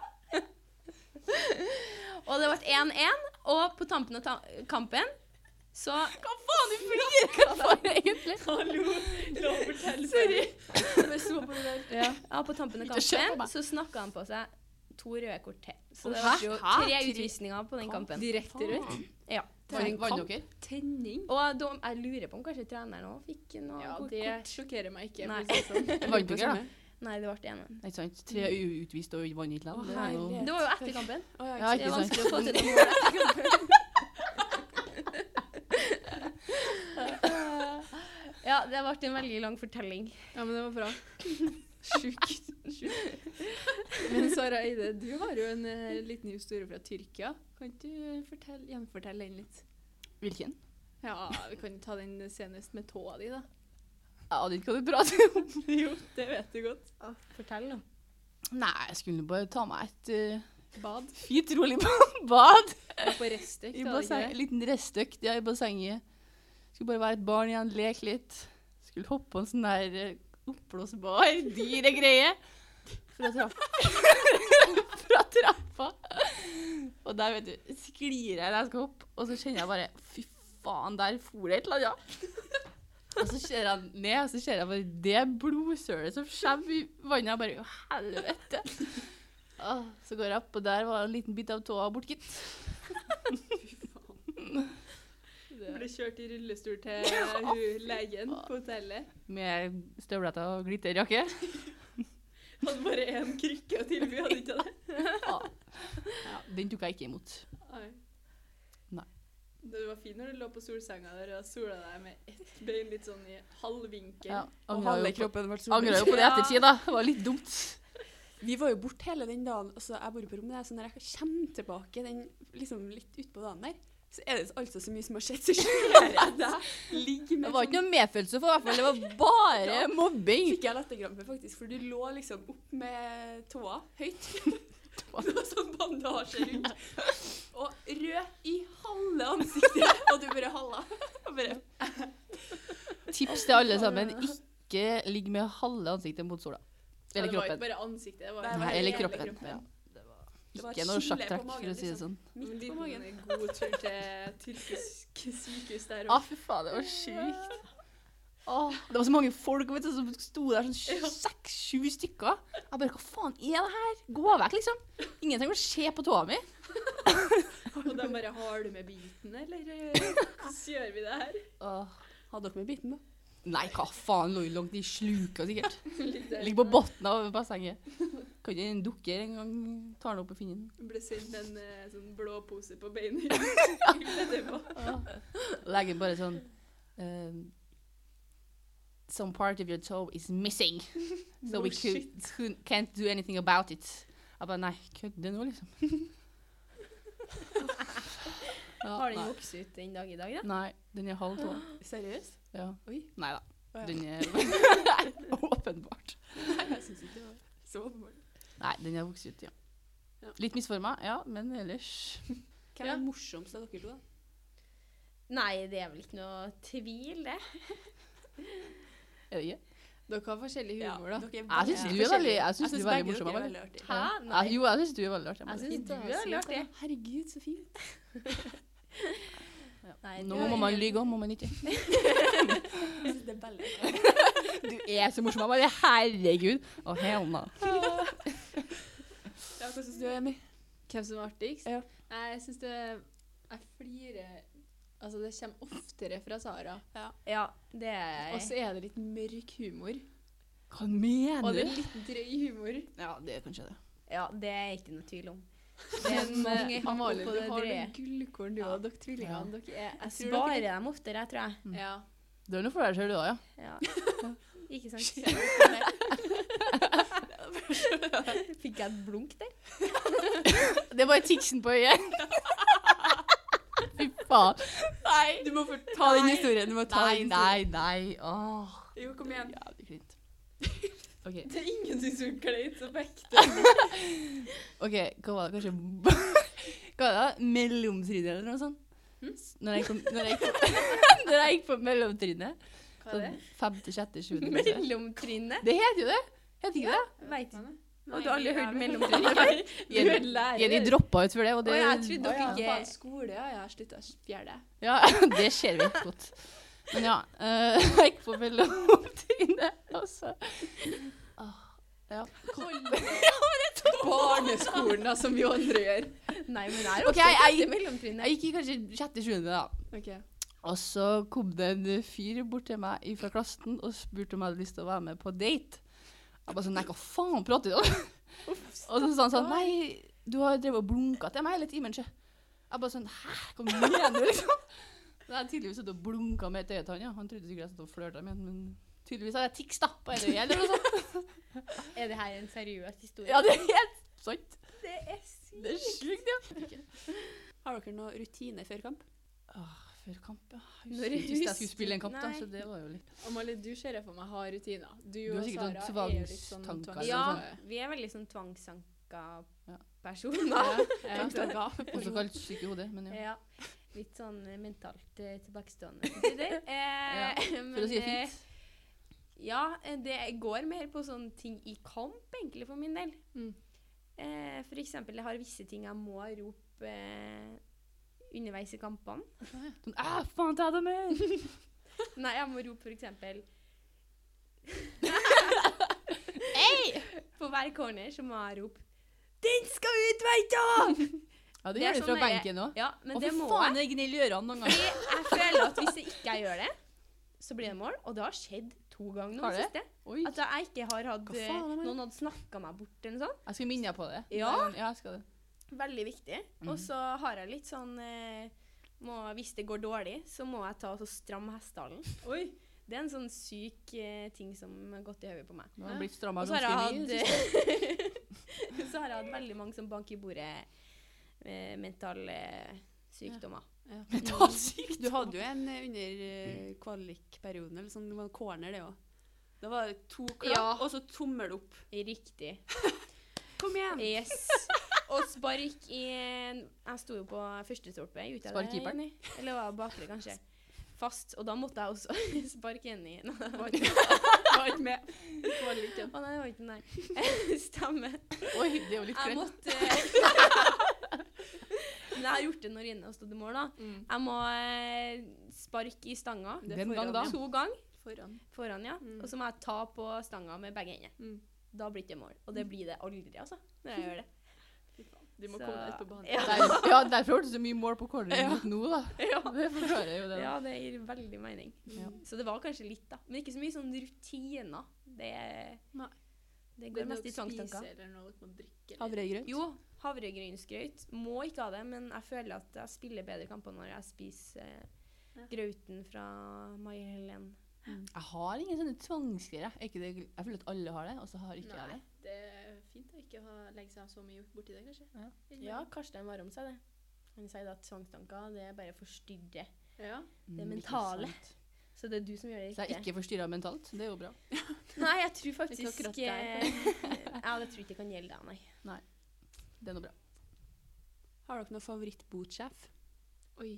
Speaker 4: Og det ble 1-1. Og på tampen av ta kampen så Hva faen, du flirer for, egentlig? Hallo, la meg fortelle. Sorry. Jeg bare så på det der.
Speaker 2: Ja.
Speaker 4: Ja, på tampen av
Speaker 3: Ikke kjør på
Speaker 4: kampen
Speaker 3: meg.
Speaker 4: så snakka han på seg to røde kort til. Så
Speaker 1: Å,
Speaker 4: det
Speaker 1: hæ?
Speaker 4: ble jo
Speaker 1: Hæ?
Speaker 4: tre
Speaker 1: Tre-
Speaker 4: utvisninger på den kampen.
Speaker 2: Direkte rødt.
Speaker 4: Ja.
Speaker 1: Var det en
Speaker 3: Vant
Speaker 1: kamp?
Speaker 3: dere?
Speaker 1: Tenning.
Speaker 4: Og da, jeg lurer på om kanskje treneren òg fikk noe
Speaker 2: Ja,
Speaker 4: gult
Speaker 2: det
Speaker 4: kort.
Speaker 2: sjokkerer meg ikke.
Speaker 4: Nei.
Speaker 2: for å si det sånn.
Speaker 3: Vant dere, da?
Speaker 4: Nei, det ble 1-1.
Speaker 3: Ikke sant? Tre u- utvist og vant
Speaker 1: Å,
Speaker 3: ikke likevel. Det er jo-
Speaker 1: herlighet.
Speaker 4: Det var jo etter kampen.
Speaker 1: Å, ja,
Speaker 3: Ja,
Speaker 4: Det er
Speaker 3: Ikke sant.
Speaker 4: vanskelig å få til noe mål etter kampen. Ja, det ble en veldig lang fortelling.
Speaker 2: Ja, men det var bra. Sjukt. Sjukt. Men Sara Eide, du har jo en eh, liten historie fra Tyrkia. Kan ikke du fortelle, gjenfortelle den litt?
Speaker 3: Hvilken?
Speaker 2: Ja, vi kan ta den senest med tåa di, da.
Speaker 3: Jeg aner ikke hva du prater om.
Speaker 2: Jo, det vet du godt.
Speaker 4: Fortell nå.
Speaker 3: Nei, jeg skulle bare ta meg et eh,
Speaker 2: Bad
Speaker 3: fint, rolig bad.
Speaker 2: og på restøkt. var det
Speaker 3: I
Speaker 2: ikke
Speaker 3: basseng,
Speaker 2: det?
Speaker 3: en liten restøkt ja, i bassenget. Skulle bare være et barn igjen, leke litt. Skulle hoppe på en sånn der eh, oppblåsbar, dyr greie. Fra trappa. fra trappa. Og der, vet du, sklir jeg når jeg skal hoppe, og så kjenner jeg bare Fy faen, der for det et eller annet. Og så ser jeg ned, og så ser jeg bare det blodsølet som skjemmer i vannet. Jeg bare Å, helvete. Ah, så går jeg opp, og der var en liten bit av tåa bort, gitt.
Speaker 2: Du ble kjørt i rullestol til hun legen på hotellet.
Speaker 3: Med støvletter og glitterjakke.
Speaker 2: Hadde bare én krykke å tilby, hadde ikke det?
Speaker 3: Ja, den tok jeg ikke imot.
Speaker 2: Nei.
Speaker 3: Nei.
Speaker 2: Det var fint når du lå på solsenga der og sola deg med ett bein litt sånn i halv vinkel.
Speaker 3: Ja,
Speaker 1: Og
Speaker 3: angrer
Speaker 1: halve
Speaker 3: jo på-
Speaker 1: kroppen ble
Speaker 3: angrer jo på det i ettertid, da. Det var litt dumt.
Speaker 1: Vi var jo borte hele den dagen. Altså, jeg bor på rommet, der, så når jeg kommer tilbake den, liksom, litt utpå dagen der, så er det altså så mye som har skjedd. Så ser jeg deg ligge med sånn
Speaker 3: Det var ikke noe medfølelse for, i hvert fall. Det var bare mobbing.
Speaker 1: Fikk jeg latterkrampe, faktisk, for du lå liksom opp med tåa høyt. Det var sånn bandasje rundt. Og rød i halve ansiktet. Og du bare halla. Og bare
Speaker 3: Tips til alle sammen. Ikke ligg med halve ansiktet mot sola. Eller
Speaker 2: det var ikke
Speaker 3: kroppen.
Speaker 2: bare ansiktet. Det var
Speaker 1: Nei,
Speaker 2: hele
Speaker 1: bare
Speaker 3: Nei, eller
Speaker 1: hele
Speaker 3: kroppen.
Speaker 1: kroppen.
Speaker 3: Ja.
Speaker 1: Det var
Speaker 3: Ikke
Speaker 1: skille
Speaker 3: noe
Speaker 1: på
Speaker 3: sjakktrekk,
Speaker 1: magen,
Speaker 3: for å si det
Speaker 1: liksom.
Speaker 3: sånn.
Speaker 1: midt på magen.
Speaker 2: En god tur til tyrkisk sykehus der
Speaker 3: Å, fy faen, det var sjukt. Åh, det var så mange folk vet du, som sto der, sånn seks-sju stykker. Jeg bare Hva faen er det her? Gå vekk, liksom. Ingen trenger å se på tåa mi.
Speaker 2: Og de bare Har du med biten, eller eh, hvordan gjør vi det her?
Speaker 3: Åh.
Speaker 1: Hadde dere med biten, da?
Speaker 3: Nei, hva faen. Lå jo langt i sluka, sikkert.
Speaker 2: Litt der.
Speaker 3: Ligger på bunnen av bassenget. Kan ikke en dukke engang ta den opp og finne den.
Speaker 2: Ble sendt en eh, sånn blå pose på beinet. Etterpå.
Speaker 3: Legen bare sånn ehm, Some part of your toe is missing, so we could, couldn't- can't do anything about it. Jeg bare nei, kødder nå, liksom. ja,
Speaker 4: Har den
Speaker 3: nei.
Speaker 4: vokst ut den dag i dag, da?
Speaker 3: nei, den er halv tå.
Speaker 1: Seriøst?
Speaker 3: Ja.
Speaker 1: Oi.
Speaker 3: Nei da,
Speaker 1: Å ja.
Speaker 3: den er åpenbart.
Speaker 1: Nei, jeg syns ikke det var så åpenbart.
Speaker 3: Nei, den er vokst ut, ja.
Speaker 1: Ja.
Speaker 3: Litt misforma, ja, men ellers
Speaker 1: Hvem er morsomst av dere to, da?
Speaker 4: Nei, det er vel ikke noe tvil, det.
Speaker 3: er det ikke.
Speaker 2: Dere har forskjellig humor, da.
Speaker 3: Jeg syns du er veldig, jeg synes du er veldig morsom. Amalie.
Speaker 4: Hæ? Nei.
Speaker 3: Jeg- Jo, jeg syns du er veldig artig.
Speaker 4: Jeg
Speaker 3: Amalie.
Speaker 4: syns du har lært det.
Speaker 1: Herregud, så fint.
Speaker 4: Nei,
Speaker 3: Nå
Speaker 4: du
Speaker 3: må
Speaker 4: har
Speaker 3: man
Speaker 4: ingen-
Speaker 3: lyve, må man ikke.
Speaker 1: Det er veldig
Speaker 3: Du er så morsom. Bare herregud. Å, hell no.
Speaker 1: Ja, Hva syns du, Emmy?
Speaker 2: Hvem som er artigst?
Speaker 1: Ja.
Speaker 2: Nei, jeg syns det Jeg flirer Altså, det kommer oftere fra Sara.
Speaker 4: Ja, det er
Speaker 2: Og så er det litt mørk humor.
Speaker 3: Hva mener
Speaker 2: Og det er litt drøy humor.
Speaker 3: Ja, det er kanskje det.
Speaker 4: Ja, det er ikke noe tvil om. Det er
Speaker 2: Men eh,
Speaker 4: mange
Speaker 2: Amalie,
Speaker 4: på
Speaker 2: du
Speaker 4: det
Speaker 2: har
Speaker 4: drøye.
Speaker 2: noen gullkorn, du
Speaker 4: Ja.
Speaker 2: og dere tvillingene. Dere er
Speaker 4: Jeg
Speaker 2: jeg tror
Speaker 4: sparer dem oftere, jeg tror jeg.
Speaker 2: dere- Ja.
Speaker 3: Du er noe for deg sjøl, du òg, ja.
Speaker 4: Ja. Ikke sant?
Speaker 1: Veldig
Speaker 4: Fikk jeg et blunk der?
Speaker 3: Det er bare tiksen på øyet. Fy faen.
Speaker 1: Nei! Du må få ta den
Speaker 3: Nei.
Speaker 1: historien. Du må ta
Speaker 3: Nei,
Speaker 1: den
Speaker 3: nei,
Speaker 1: historien.
Speaker 3: nei. Åh.
Speaker 1: Jo, kom igjen.
Speaker 3: Jævlig klint. OK,
Speaker 2: Det er ingenting som er kleint som ekte.
Speaker 3: ok, hva var det kanskje Hva var det? Mellomtrinnet eller noe sånt? Når jeg, kom, når, jeg kom, når jeg gikk på mellomtrinnet.
Speaker 2: Hva er det?
Speaker 3: sånn Femte, sjette, sjuende klasse.
Speaker 4: Mellomtrinnet?
Speaker 3: Det heter jo det. Heter ikke det?
Speaker 4: Veit ikke.
Speaker 2: Nei,
Speaker 4: Har du aldri
Speaker 2: jeg
Speaker 4: hørt
Speaker 2: vet
Speaker 4: mellomtrinnet?
Speaker 2: Du er lærer.
Speaker 3: Ja, de droppa ut for det. Og det
Speaker 4: Å, jeg
Speaker 2: Å
Speaker 4: trodde
Speaker 2: ja,
Speaker 4: dere
Speaker 2: faen,
Speaker 4: ikke
Speaker 2: skole, ja. Jeg har slutta fjerde.
Speaker 3: Ja, det ser vi godt. Men ja, eh, jeg gikk på mellomtrinnet, og så ah, ja.
Speaker 2: Barneskolen, da, som vi andre gjør.
Speaker 4: Nei, men det er
Speaker 3: Ok,
Speaker 4: også
Speaker 3: jeg-
Speaker 4: dette mellomtrinnet.
Speaker 3: Jeg gikk i kanskje sjette-sjuende, da.
Speaker 2: Ok.
Speaker 3: Og så kom det en eh, fyr bort til meg fra klassen og spurte om jeg hadde lyst til å være med på date. Jeg bare sånn Nei, hva faen prater du om? Og så sa han sånn Nei, du har drevet og blunka til meg hele timen, sjø. Jeg bare sånn Hæ, hva mener du, liksom? Så jeg har tydeligvis sittet og blunka med et øye til han, ja. Han trodde sikkert jeg satt og flørta med han, men tydeligvis har jeg tics, da. På altså. et øye, eller noe sånt.
Speaker 4: Er det her en seriøs historie?
Speaker 3: Ja, det er helt sant.
Speaker 4: det er sykt.
Speaker 3: Det er sjukt, ja.
Speaker 1: Har dere noen rutine før kamp?
Speaker 3: Før kamp, ja.
Speaker 4: Når
Speaker 3: Husker ikke hvis jeg
Speaker 4: husker-
Speaker 3: skulle spille en kamp, da,
Speaker 4: Nei.
Speaker 3: så det var jo litt
Speaker 2: Amalie, du ser jeg for meg har rutiner. Du,
Speaker 3: har
Speaker 2: og
Speaker 3: sikkert
Speaker 2: Sara
Speaker 3: sånn
Speaker 2: er jo litt sånn
Speaker 3: tvangstanker
Speaker 2: tvangstanker.
Speaker 4: liksom. Ja,
Speaker 3: Altså,
Speaker 4: vi er veldig sånn tvangsanka
Speaker 3: Ja.
Speaker 4: personer.
Speaker 2: Ja, ja.
Speaker 3: Også kalt syk i hodet, men ja.
Speaker 4: Ja. Litt sånn eh, mentalt eh, tilbakestående. til tider. Eh,
Speaker 3: For å si det
Speaker 4: men, eh,
Speaker 3: fint.
Speaker 4: Ja, eh, det går mer på sånne ting i kamp, egentlig, for min del.
Speaker 2: Mm.
Speaker 4: Eh, for eksempel, jeg har visse ting jeg må rope eh, underveis i kampene.
Speaker 3: Sånn, Æ, faen, ta det med!
Speaker 4: Nei, jeg må rope for eksempel På hver corner så må jeg rope 'Den skal ut, veit du!'
Speaker 3: Ja,
Speaker 4: Det
Speaker 3: det
Speaker 4: er
Speaker 3: gjør det fra
Speaker 4: sånn der-
Speaker 3: benken òg.
Speaker 4: Ja, men
Speaker 3: Å,
Speaker 4: det
Speaker 3: fy
Speaker 4: må jeg.
Speaker 3: faen, det gnir ørene noen ganger.
Speaker 4: Fordi jeg føler at hvis jeg ikke gjør det, så blir det mål. Og det har skjedd to ganger nå
Speaker 3: Har
Speaker 4: i
Speaker 3: det?
Speaker 4: det siste.
Speaker 3: Oi,
Speaker 4: At jeg ikke har hatt eh,
Speaker 1: Hva faen er det?
Speaker 4: Noen hadde snakka meg bort sånn. eller noe sånt.
Speaker 3: jeg skal minne deg på det.
Speaker 4: Ja.
Speaker 3: Ja, jeg skal det.
Speaker 4: Veldig viktig.
Speaker 3: Mhm.
Speaker 4: Og så har jeg litt sånn eh, må, Hvis det går dårlig, så må jeg ta og så stramme hestehalen.
Speaker 2: Oi,
Speaker 4: Det er en sånn syk eh, ting som har gått i hodet på meg.
Speaker 3: Nå har det blitt stramma
Speaker 4: Og så har jeg
Speaker 3: ganske mye. i det siste.
Speaker 4: hatt Så har jeg hatt veldig mange som banker i bordet eh, mentale sykdommer.
Speaker 1: Du hadde jo en eh, under eh, kvalikperioden, eller sånn, det var en corner det òg. Da var det to klapp,
Speaker 4: Ja.
Speaker 1: og så tommel opp.
Speaker 4: Riktig.
Speaker 1: Kom igjen!
Speaker 4: Yes. Og spark i en Jeg sto jo på første stolpe. gjorde jeg det,
Speaker 3: Sparkkeeperen?
Speaker 4: Jenny? Eller var det bakre, kanskje? Fast. Og da måtte jeg også sparke Jenny. Nei, det var ikke
Speaker 1: Var ikke med.
Speaker 4: Å nei, det var ikke den der. Stemmer.
Speaker 3: Oi, det er jo litt
Speaker 4: Jeg
Speaker 3: grønt.
Speaker 4: måtte Men jeg har gjort det når Jenny har stått i mål, da.
Speaker 1: Mm.
Speaker 4: Jeg må eh, sparke i stanga.
Speaker 1: Det er
Speaker 3: Den gang
Speaker 1: foran,
Speaker 3: da?
Speaker 1: ja.
Speaker 4: To ganger
Speaker 1: Foran.
Speaker 4: foran, ja.
Speaker 1: Mm.
Speaker 4: Og så må jeg ta på stanga med begge hender.
Speaker 1: Mm.
Speaker 4: Da blir det mål. Og det blir det aldri, altså. Når jeg gjør det.
Speaker 1: Du må
Speaker 4: Så-
Speaker 1: komme deg ut på banen.
Speaker 4: Ja.
Speaker 3: Der, ja, derfor hørtes det så mye mål på corneren
Speaker 4: Ja.
Speaker 3: mot nå, da. Det forklarer jo det. da.
Speaker 4: Ja, det gir veldig mening.
Speaker 3: Ja.
Speaker 4: Så det var kanskje litt, da. Men ikke så mye sånn rutiner. Det,
Speaker 1: Nei.
Speaker 4: det går mest i tvangstanker.
Speaker 2: eller noe, dere må drikke. eller-
Speaker 1: Havregrøt.
Speaker 4: Jo, havregrynsgrøt. Må ikke ha det, men jeg føler at jeg spiller bedre kamper når jeg spiser eh,
Speaker 2: Ja.
Speaker 4: grøten fra Mai Helen.
Speaker 3: Jeg har ingen sånne tvangsgreier. jeg. Er ikke det- Jeg føler at alle har det, og så har ikke
Speaker 2: Nei,
Speaker 3: jeg det.
Speaker 2: det er fint å ikke ha, legge seg så mye borti det, kanskje.
Speaker 3: Ja.
Speaker 2: Innimellom.
Speaker 4: Ja, Karstein var om seg det. Han sier da at tvangstanker det er bare forstyrre.
Speaker 2: ja.
Speaker 4: Det
Speaker 3: Mm, ikke
Speaker 4: mentale.
Speaker 3: sant.
Speaker 4: Så det er du som gjør det
Speaker 3: Så jeg er
Speaker 4: riktig.
Speaker 3: ikke forstyrra mentalt. Det er jo bra.
Speaker 4: Nei, jeg tror
Speaker 2: Ikke
Speaker 4: faktisk
Speaker 2: akkurat
Speaker 4: eh,
Speaker 2: der,
Speaker 4: Ja, det tror jeg ikke kan gjelde deg, nei.
Speaker 3: Det er noe bra.
Speaker 1: Har dere noen favorittbotsjef?
Speaker 2: Oi.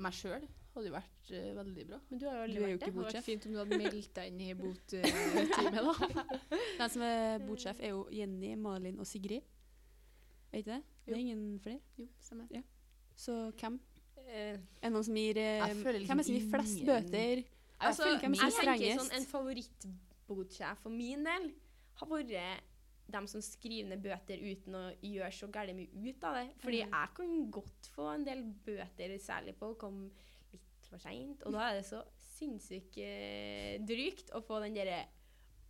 Speaker 3: Meg sjøl hadde jo vært eh, veldig bra.
Speaker 4: Men du har
Speaker 1: Du
Speaker 4: jo aldri
Speaker 1: er jo
Speaker 4: vært det.
Speaker 2: Det hadde
Speaker 1: Botsjef.
Speaker 2: vært fint om du hadde meldt deg inn i botteamet, da.
Speaker 1: Den som er botsjef, er jo Jenny, Malin og Sigrid. Er ikke det? Det er ingen flere.
Speaker 2: Jo, stemmer.
Speaker 1: Så hvem?
Speaker 4: Eh,
Speaker 1: Er det noen som gir eh,
Speaker 3: Jeg føler
Speaker 1: Hvem er det som gir
Speaker 3: liksom
Speaker 1: flest
Speaker 3: ingen-
Speaker 1: bøter?
Speaker 4: altså,
Speaker 1: føler ikke hvem som er
Speaker 4: jeg tenker
Speaker 1: strengest.
Speaker 4: sånn en favorittbotsjef for min del har vært dem som skriver ned bøter uten å gjøre så gærent mye ut av det. Fordi jeg kan godt få en del bøter, særlig på å komme litt for seint. Og da er det så sinnssykt eh, drygt å få den derre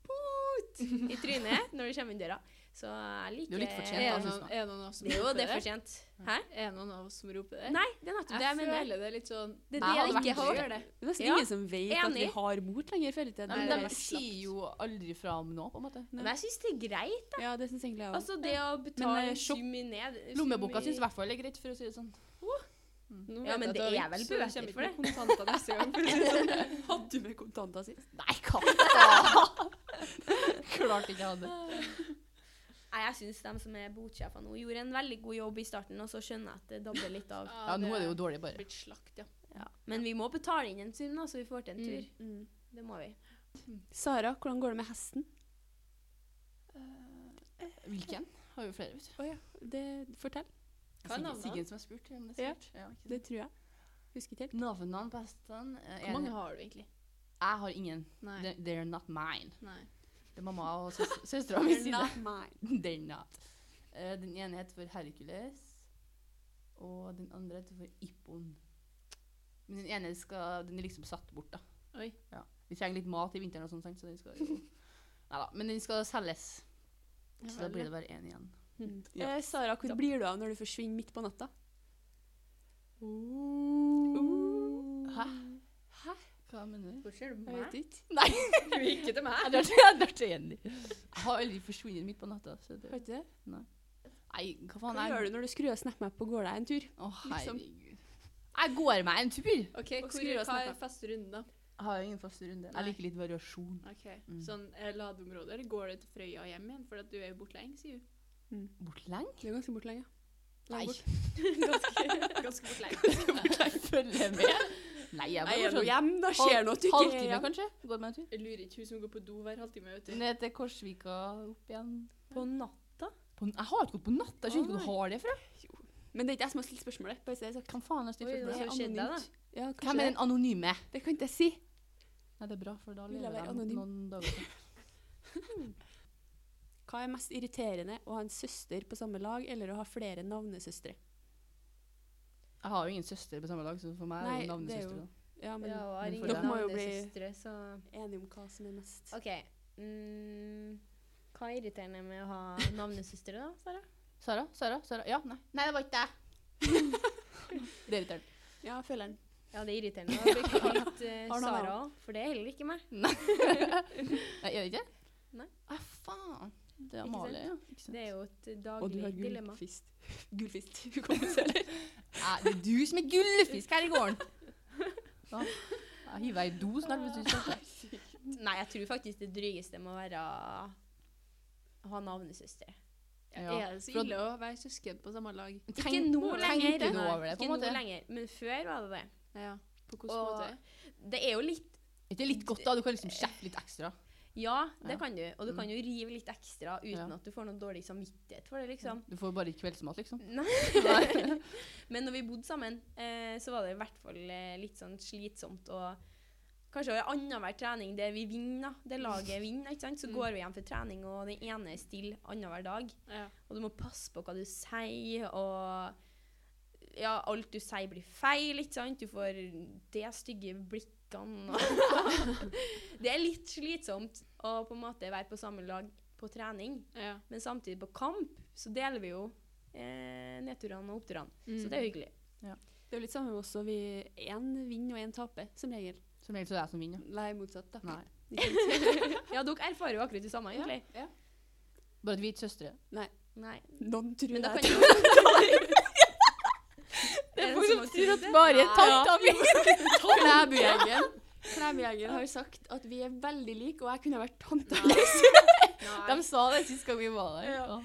Speaker 4: bot i trynet når du kommer inn døra. Så jeg liker
Speaker 3: Det er jo litt fortjent,
Speaker 2: Er
Speaker 3: da,
Speaker 2: det
Speaker 3: synes
Speaker 2: noen, er det noen av oss som
Speaker 3: jeg.
Speaker 4: Det er jo
Speaker 2: roper
Speaker 4: det
Speaker 2: det?
Speaker 4: fortjent. Hæ?
Speaker 2: Er det noen av oss som roper det?
Speaker 4: Nei, det er nettopp det
Speaker 2: jeg
Speaker 4: jeg mener.
Speaker 2: føler det er litt sånn
Speaker 4: Det er
Speaker 3: Nei,
Speaker 4: det jeg
Speaker 3: hadde
Speaker 4: ikke
Speaker 3: vært
Speaker 4: har
Speaker 3: gøy.
Speaker 4: gjort.
Speaker 1: Det er nesten
Speaker 4: Ja,
Speaker 1: ingen som vet at vi
Speaker 4: enig.
Speaker 1: har bot lenger, føler jeg.
Speaker 3: Nei,
Speaker 1: Det
Speaker 3: men
Speaker 1: er
Speaker 3: de
Speaker 1: slapt.
Speaker 3: sier jo aldri fra om nå, på en måte.
Speaker 4: Men jeg syns det er greit.
Speaker 1: Ja, det syns egentlig jeg også.
Speaker 4: Altså, det å betale
Speaker 1: eh,
Speaker 4: en
Speaker 1: shop-
Speaker 4: sum i ned sum
Speaker 3: Lommeboka syns i hvert fall er greit, for å si det sånn.
Speaker 2: Nå
Speaker 4: Ja,
Speaker 2: vet
Speaker 4: men
Speaker 2: jeg at
Speaker 4: det
Speaker 2: har
Speaker 4: er
Speaker 2: gjort,
Speaker 4: vel
Speaker 2: så det
Speaker 4: bøter
Speaker 2: kommer
Speaker 4: for
Speaker 2: ikke noen Kontanter neste gang. for å si det sånn.
Speaker 1: Hadde du med kontanter sist?
Speaker 3: Nei, hva faen? Klart ikke jeg hadde.
Speaker 4: Nei, jeg syns de som er botsjefer nå, gjorde en veldig god jobb i starten, og så skjønner jeg at det dabber litt av.
Speaker 3: Ja, nå er det jo dårlig, bare.
Speaker 2: Blitt slakt, ja.
Speaker 4: Ja. Men vi må betale inn en sum, da, så vi får til en
Speaker 2: Mm.
Speaker 4: tur. Det må vi.
Speaker 1: Sara, hvordan går det med hesten?
Speaker 3: Hvilken? Har jo flere, vet du.
Speaker 1: Det, fortell.
Speaker 2: Hva er
Speaker 3: Siggen-
Speaker 2: navnet?
Speaker 3: Siggen som har spurt. om det er
Speaker 1: Ja,
Speaker 3: spurt. Ja, ikke
Speaker 1: Det
Speaker 3: sant.
Speaker 1: tror jeg. Husker ikke helt.
Speaker 3: Navnene på hestene eh,
Speaker 2: Hvor mange
Speaker 3: en-
Speaker 2: har du egentlig?
Speaker 3: Jeg har ingen.
Speaker 2: Nei.
Speaker 3: They're, they're not mine.
Speaker 2: Nei.
Speaker 3: Det er mamma og søs- søstera mi sin. They're not. Eh, den ene heter for Hercules, og den andre heter for Ippon. Men den ene skal, den er liksom satt bort, da.
Speaker 2: Oi.
Speaker 3: Ja. Vi trenger litt mat i vinteren og sånn, sant, så den skal jo Neida, Men den skal selges. Så da
Speaker 2: vel,
Speaker 3: blir det bare én igjen.
Speaker 1: Mm.
Speaker 3: Ja.
Speaker 1: Eh, Sara, hvor blir du av når du forsvinner midt på natta?
Speaker 3: Hæ? Hæ? Hva mener du?
Speaker 4: Hvor ser du
Speaker 1: Jeg vet ikke.
Speaker 3: Nei,
Speaker 4: Ikke til meg.
Speaker 3: jeg drar til- jeg drar til Jenny. Jeg har aldri forsvunnet midt på natta. Så
Speaker 1: Har
Speaker 3: det.
Speaker 1: ikke det?
Speaker 3: Nei, hva
Speaker 1: Hva
Speaker 3: faen er
Speaker 1: gjør du når du skrur av SnapMap og går deg en tur?
Speaker 3: Å,
Speaker 1: liksom?
Speaker 3: herregud. Jeg går meg en tur.
Speaker 2: OK,
Speaker 1: Og
Speaker 2: hvor,
Speaker 1: skru av
Speaker 2: hva er
Speaker 1: snappen.
Speaker 2: faste runden, da?
Speaker 3: Jeg har ingen fast runde.
Speaker 2: Nei.
Speaker 3: Jeg liker litt variasjon.
Speaker 2: Ok,
Speaker 3: Mm.
Speaker 2: Sånn eh, ladeområde, eller går det til Frøya og hjem igjen? For at du er jo bortlengs, jo.
Speaker 3: Bortleng?
Speaker 1: Det er ganske bort lenge.
Speaker 3: Nei.
Speaker 1: Langt bort.
Speaker 2: Ganske bortlengs.
Speaker 3: Bortleng følger med. Nei, jeg
Speaker 1: Nei,
Speaker 3: bare
Speaker 1: er du
Speaker 3: sånn
Speaker 1: hjemme, da
Speaker 3: halv-
Speaker 1: skjer noe at du ikke er
Speaker 3: halvtime,
Speaker 1: hjemme.
Speaker 3: kanskje. Går meg en tur.
Speaker 2: Jeg lurer ikke hun som går på do hver halvtime, vet du.
Speaker 3: Ned til Korsvika, opp igjen.
Speaker 4: På natta?
Speaker 3: På, jeg har ikke gått på natt. Jeg skjønner ikke hvor du har det fra.
Speaker 1: Men det er ikke jeg som har stilt spørsmålet. Bare si det, så
Speaker 3: Hvem faen har stilt
Speaker 4: Oi, det
Speaker 3: spørsmål?
Speaker 4: har skjedd deg, da.
Speaker 1: Ja, kanskje
Speaker 3: Hvem er den anonyme?
Speaker 1: det. Det kan ikke jeg si.
Speaker 3: Nei, det er bra, for da
Speaker 1: Vil jeg
Speaker 3: lever
Speaker 1: være
Speaker 3: jeg
Speaker 1: anonym?
Speaker 3: noen dager til.
Speaker 1: Hva er mest irriterende, å ha en søster på samme lag eller å ha flere navnesøstre?
Speaker 3: Jeg har jo ingen søster på samme lag, så for meg er det
Speaker 1: Nei, det er jo-
Speaker 3: navnesøster. da.
Speaker 1: Ja, men
Speaker 4: Ja, og
Speaker 3: men
Speaker 4: jeg
Speaker 3: for
Speaker 4: ringer
Speaker 1: deg. Dere må jo bli-
Speaker 4: navnesøstre, så
Speaker 1: enige om hva som er mest.
Speaker 4: OK. Mm. Hva er irriterende med å ha navnesøstre, da, Sara?
Speaker 3: Sara? Sara? Sara? Ja, nei. Nei, det var ikke deg. det er irriterende.
Speaker 1: Ja, føler den.
Speaker 4: Ja, det er irriterende. å bruke litt eh,
Speaker 3: Har noen
Speaker 4: Sara òg, for det er heller ikke meg.
Speaker 3: Nei, gjør det ikke?
Speaker 4: Nei.
Speaker 3: Ah, faen. Det er
Speaker 4: Ikke
Speaker 3: Amalie, ja. Ikke sant?
Speaker 4: Det er jo et eh,
Speaker 1: Og du
Speaker 4: daglig
Speaker 1: har
Speaker 4: dilemma.
Speaker 1: gullfist. Gullfist. Hukommelse, eller?
Speaker 3: Nei, det er du som er gullfisk her i gården. Ja. Jeg hiver deg i do snart hvis du snakker.
Speaker 4: Nei, jeg tror faktisk det drygeste må være å ha navnesøster.
Speaker 3: Ja.
Speaker 2: Er det så
Speaker 3: for at-
Speaker 2: ille å være søsken på samme lag?
Speaker 4: Ikke nå lenger.
Speaker 3: Tenker du over det, på en
Speaker 4: Ikke nå
Speaker 3: måte?
Speaker 4: lenger, men før var det det.
Speaker 2: Ja, på hvilken
Speaker 4: Og-
Speaker 2: måte?
Speaker 4: Det er jo litt
Speaker 3: Er ikke litt godt, da? Du kan liksom kjeppe litt ekstra.
Speaker 4: Ja, Mm. det
Speaker 3: Ja.
Speaker 4: kan du. Og du kan jo rive litt ekstra uten
Speaker 3: Ja.
Speaker 4: at du får noe dårlig samvittighet for det, liksom.
Speaker 3: Du får bare kveldsmat, liksom.
Speaker 4: Nei. Men når vi bodde sammen, eh, så var det i hvert fall eh, litt sånn slitsomt å Kanskje annenhver trening der vi vinner, da, det laget vinner, ikke sant? så går vi hjem for trening, og den ene er stille annenhver dag.
Speaker 2: Ja.
Speaker 4: Og du må passe på hva du sier, og ja, alt du sier blir feil, ikke sant? Du får de stygge blikkene. og- det er litt slitsomt å på en måte være på samme lag på trening,
Speaker 2: ja.
Speaker 4: men samtidig på kamp så deler vi jo eh, nedturene og oppturene.
Speaker 2: Mm.
Speaker 4: Så det er hyggelig.
Speaker 1: Det er jo litt samme med oss, og vi én vinner og én taper, som regel.
Speaker 3: Som regel så er det jeg som vinner.
Speaker 1: Nei, motsatt, da.
Speaker 3: Nei.
Speaker 4: Ja, dere erfarer jo akkurat det samme, egentlig.
Speaker 3: Bare at vi er ikke søstre.
Speaker 4: Nei.
Speaker 1: Noen tror
Speaker 4: Men da
Speaker 1: jeg
Speaker 4: kan jo Det
Speaker 3: Det er
Speaker 4: noen
Speaker 3: folk
Speaker 4: som
Speaker 3: som
Speaker 4: har
Speaker 3: tror
Speaker 4: trodd
Speaker 3: at
Speaker 4: det?
Speaker 3: bare
Speaker 4: Nei.
Speaker 3: tanta mi
Speaker 1: Klæbjeggen. Klæbjeggen har sagt at vi er veldig like, og jeg kunne vært tanta hennes.
Speaker 3: De sa det sist gang vi var der.
Speaker 1: Ja.
Speaker 3: Åh.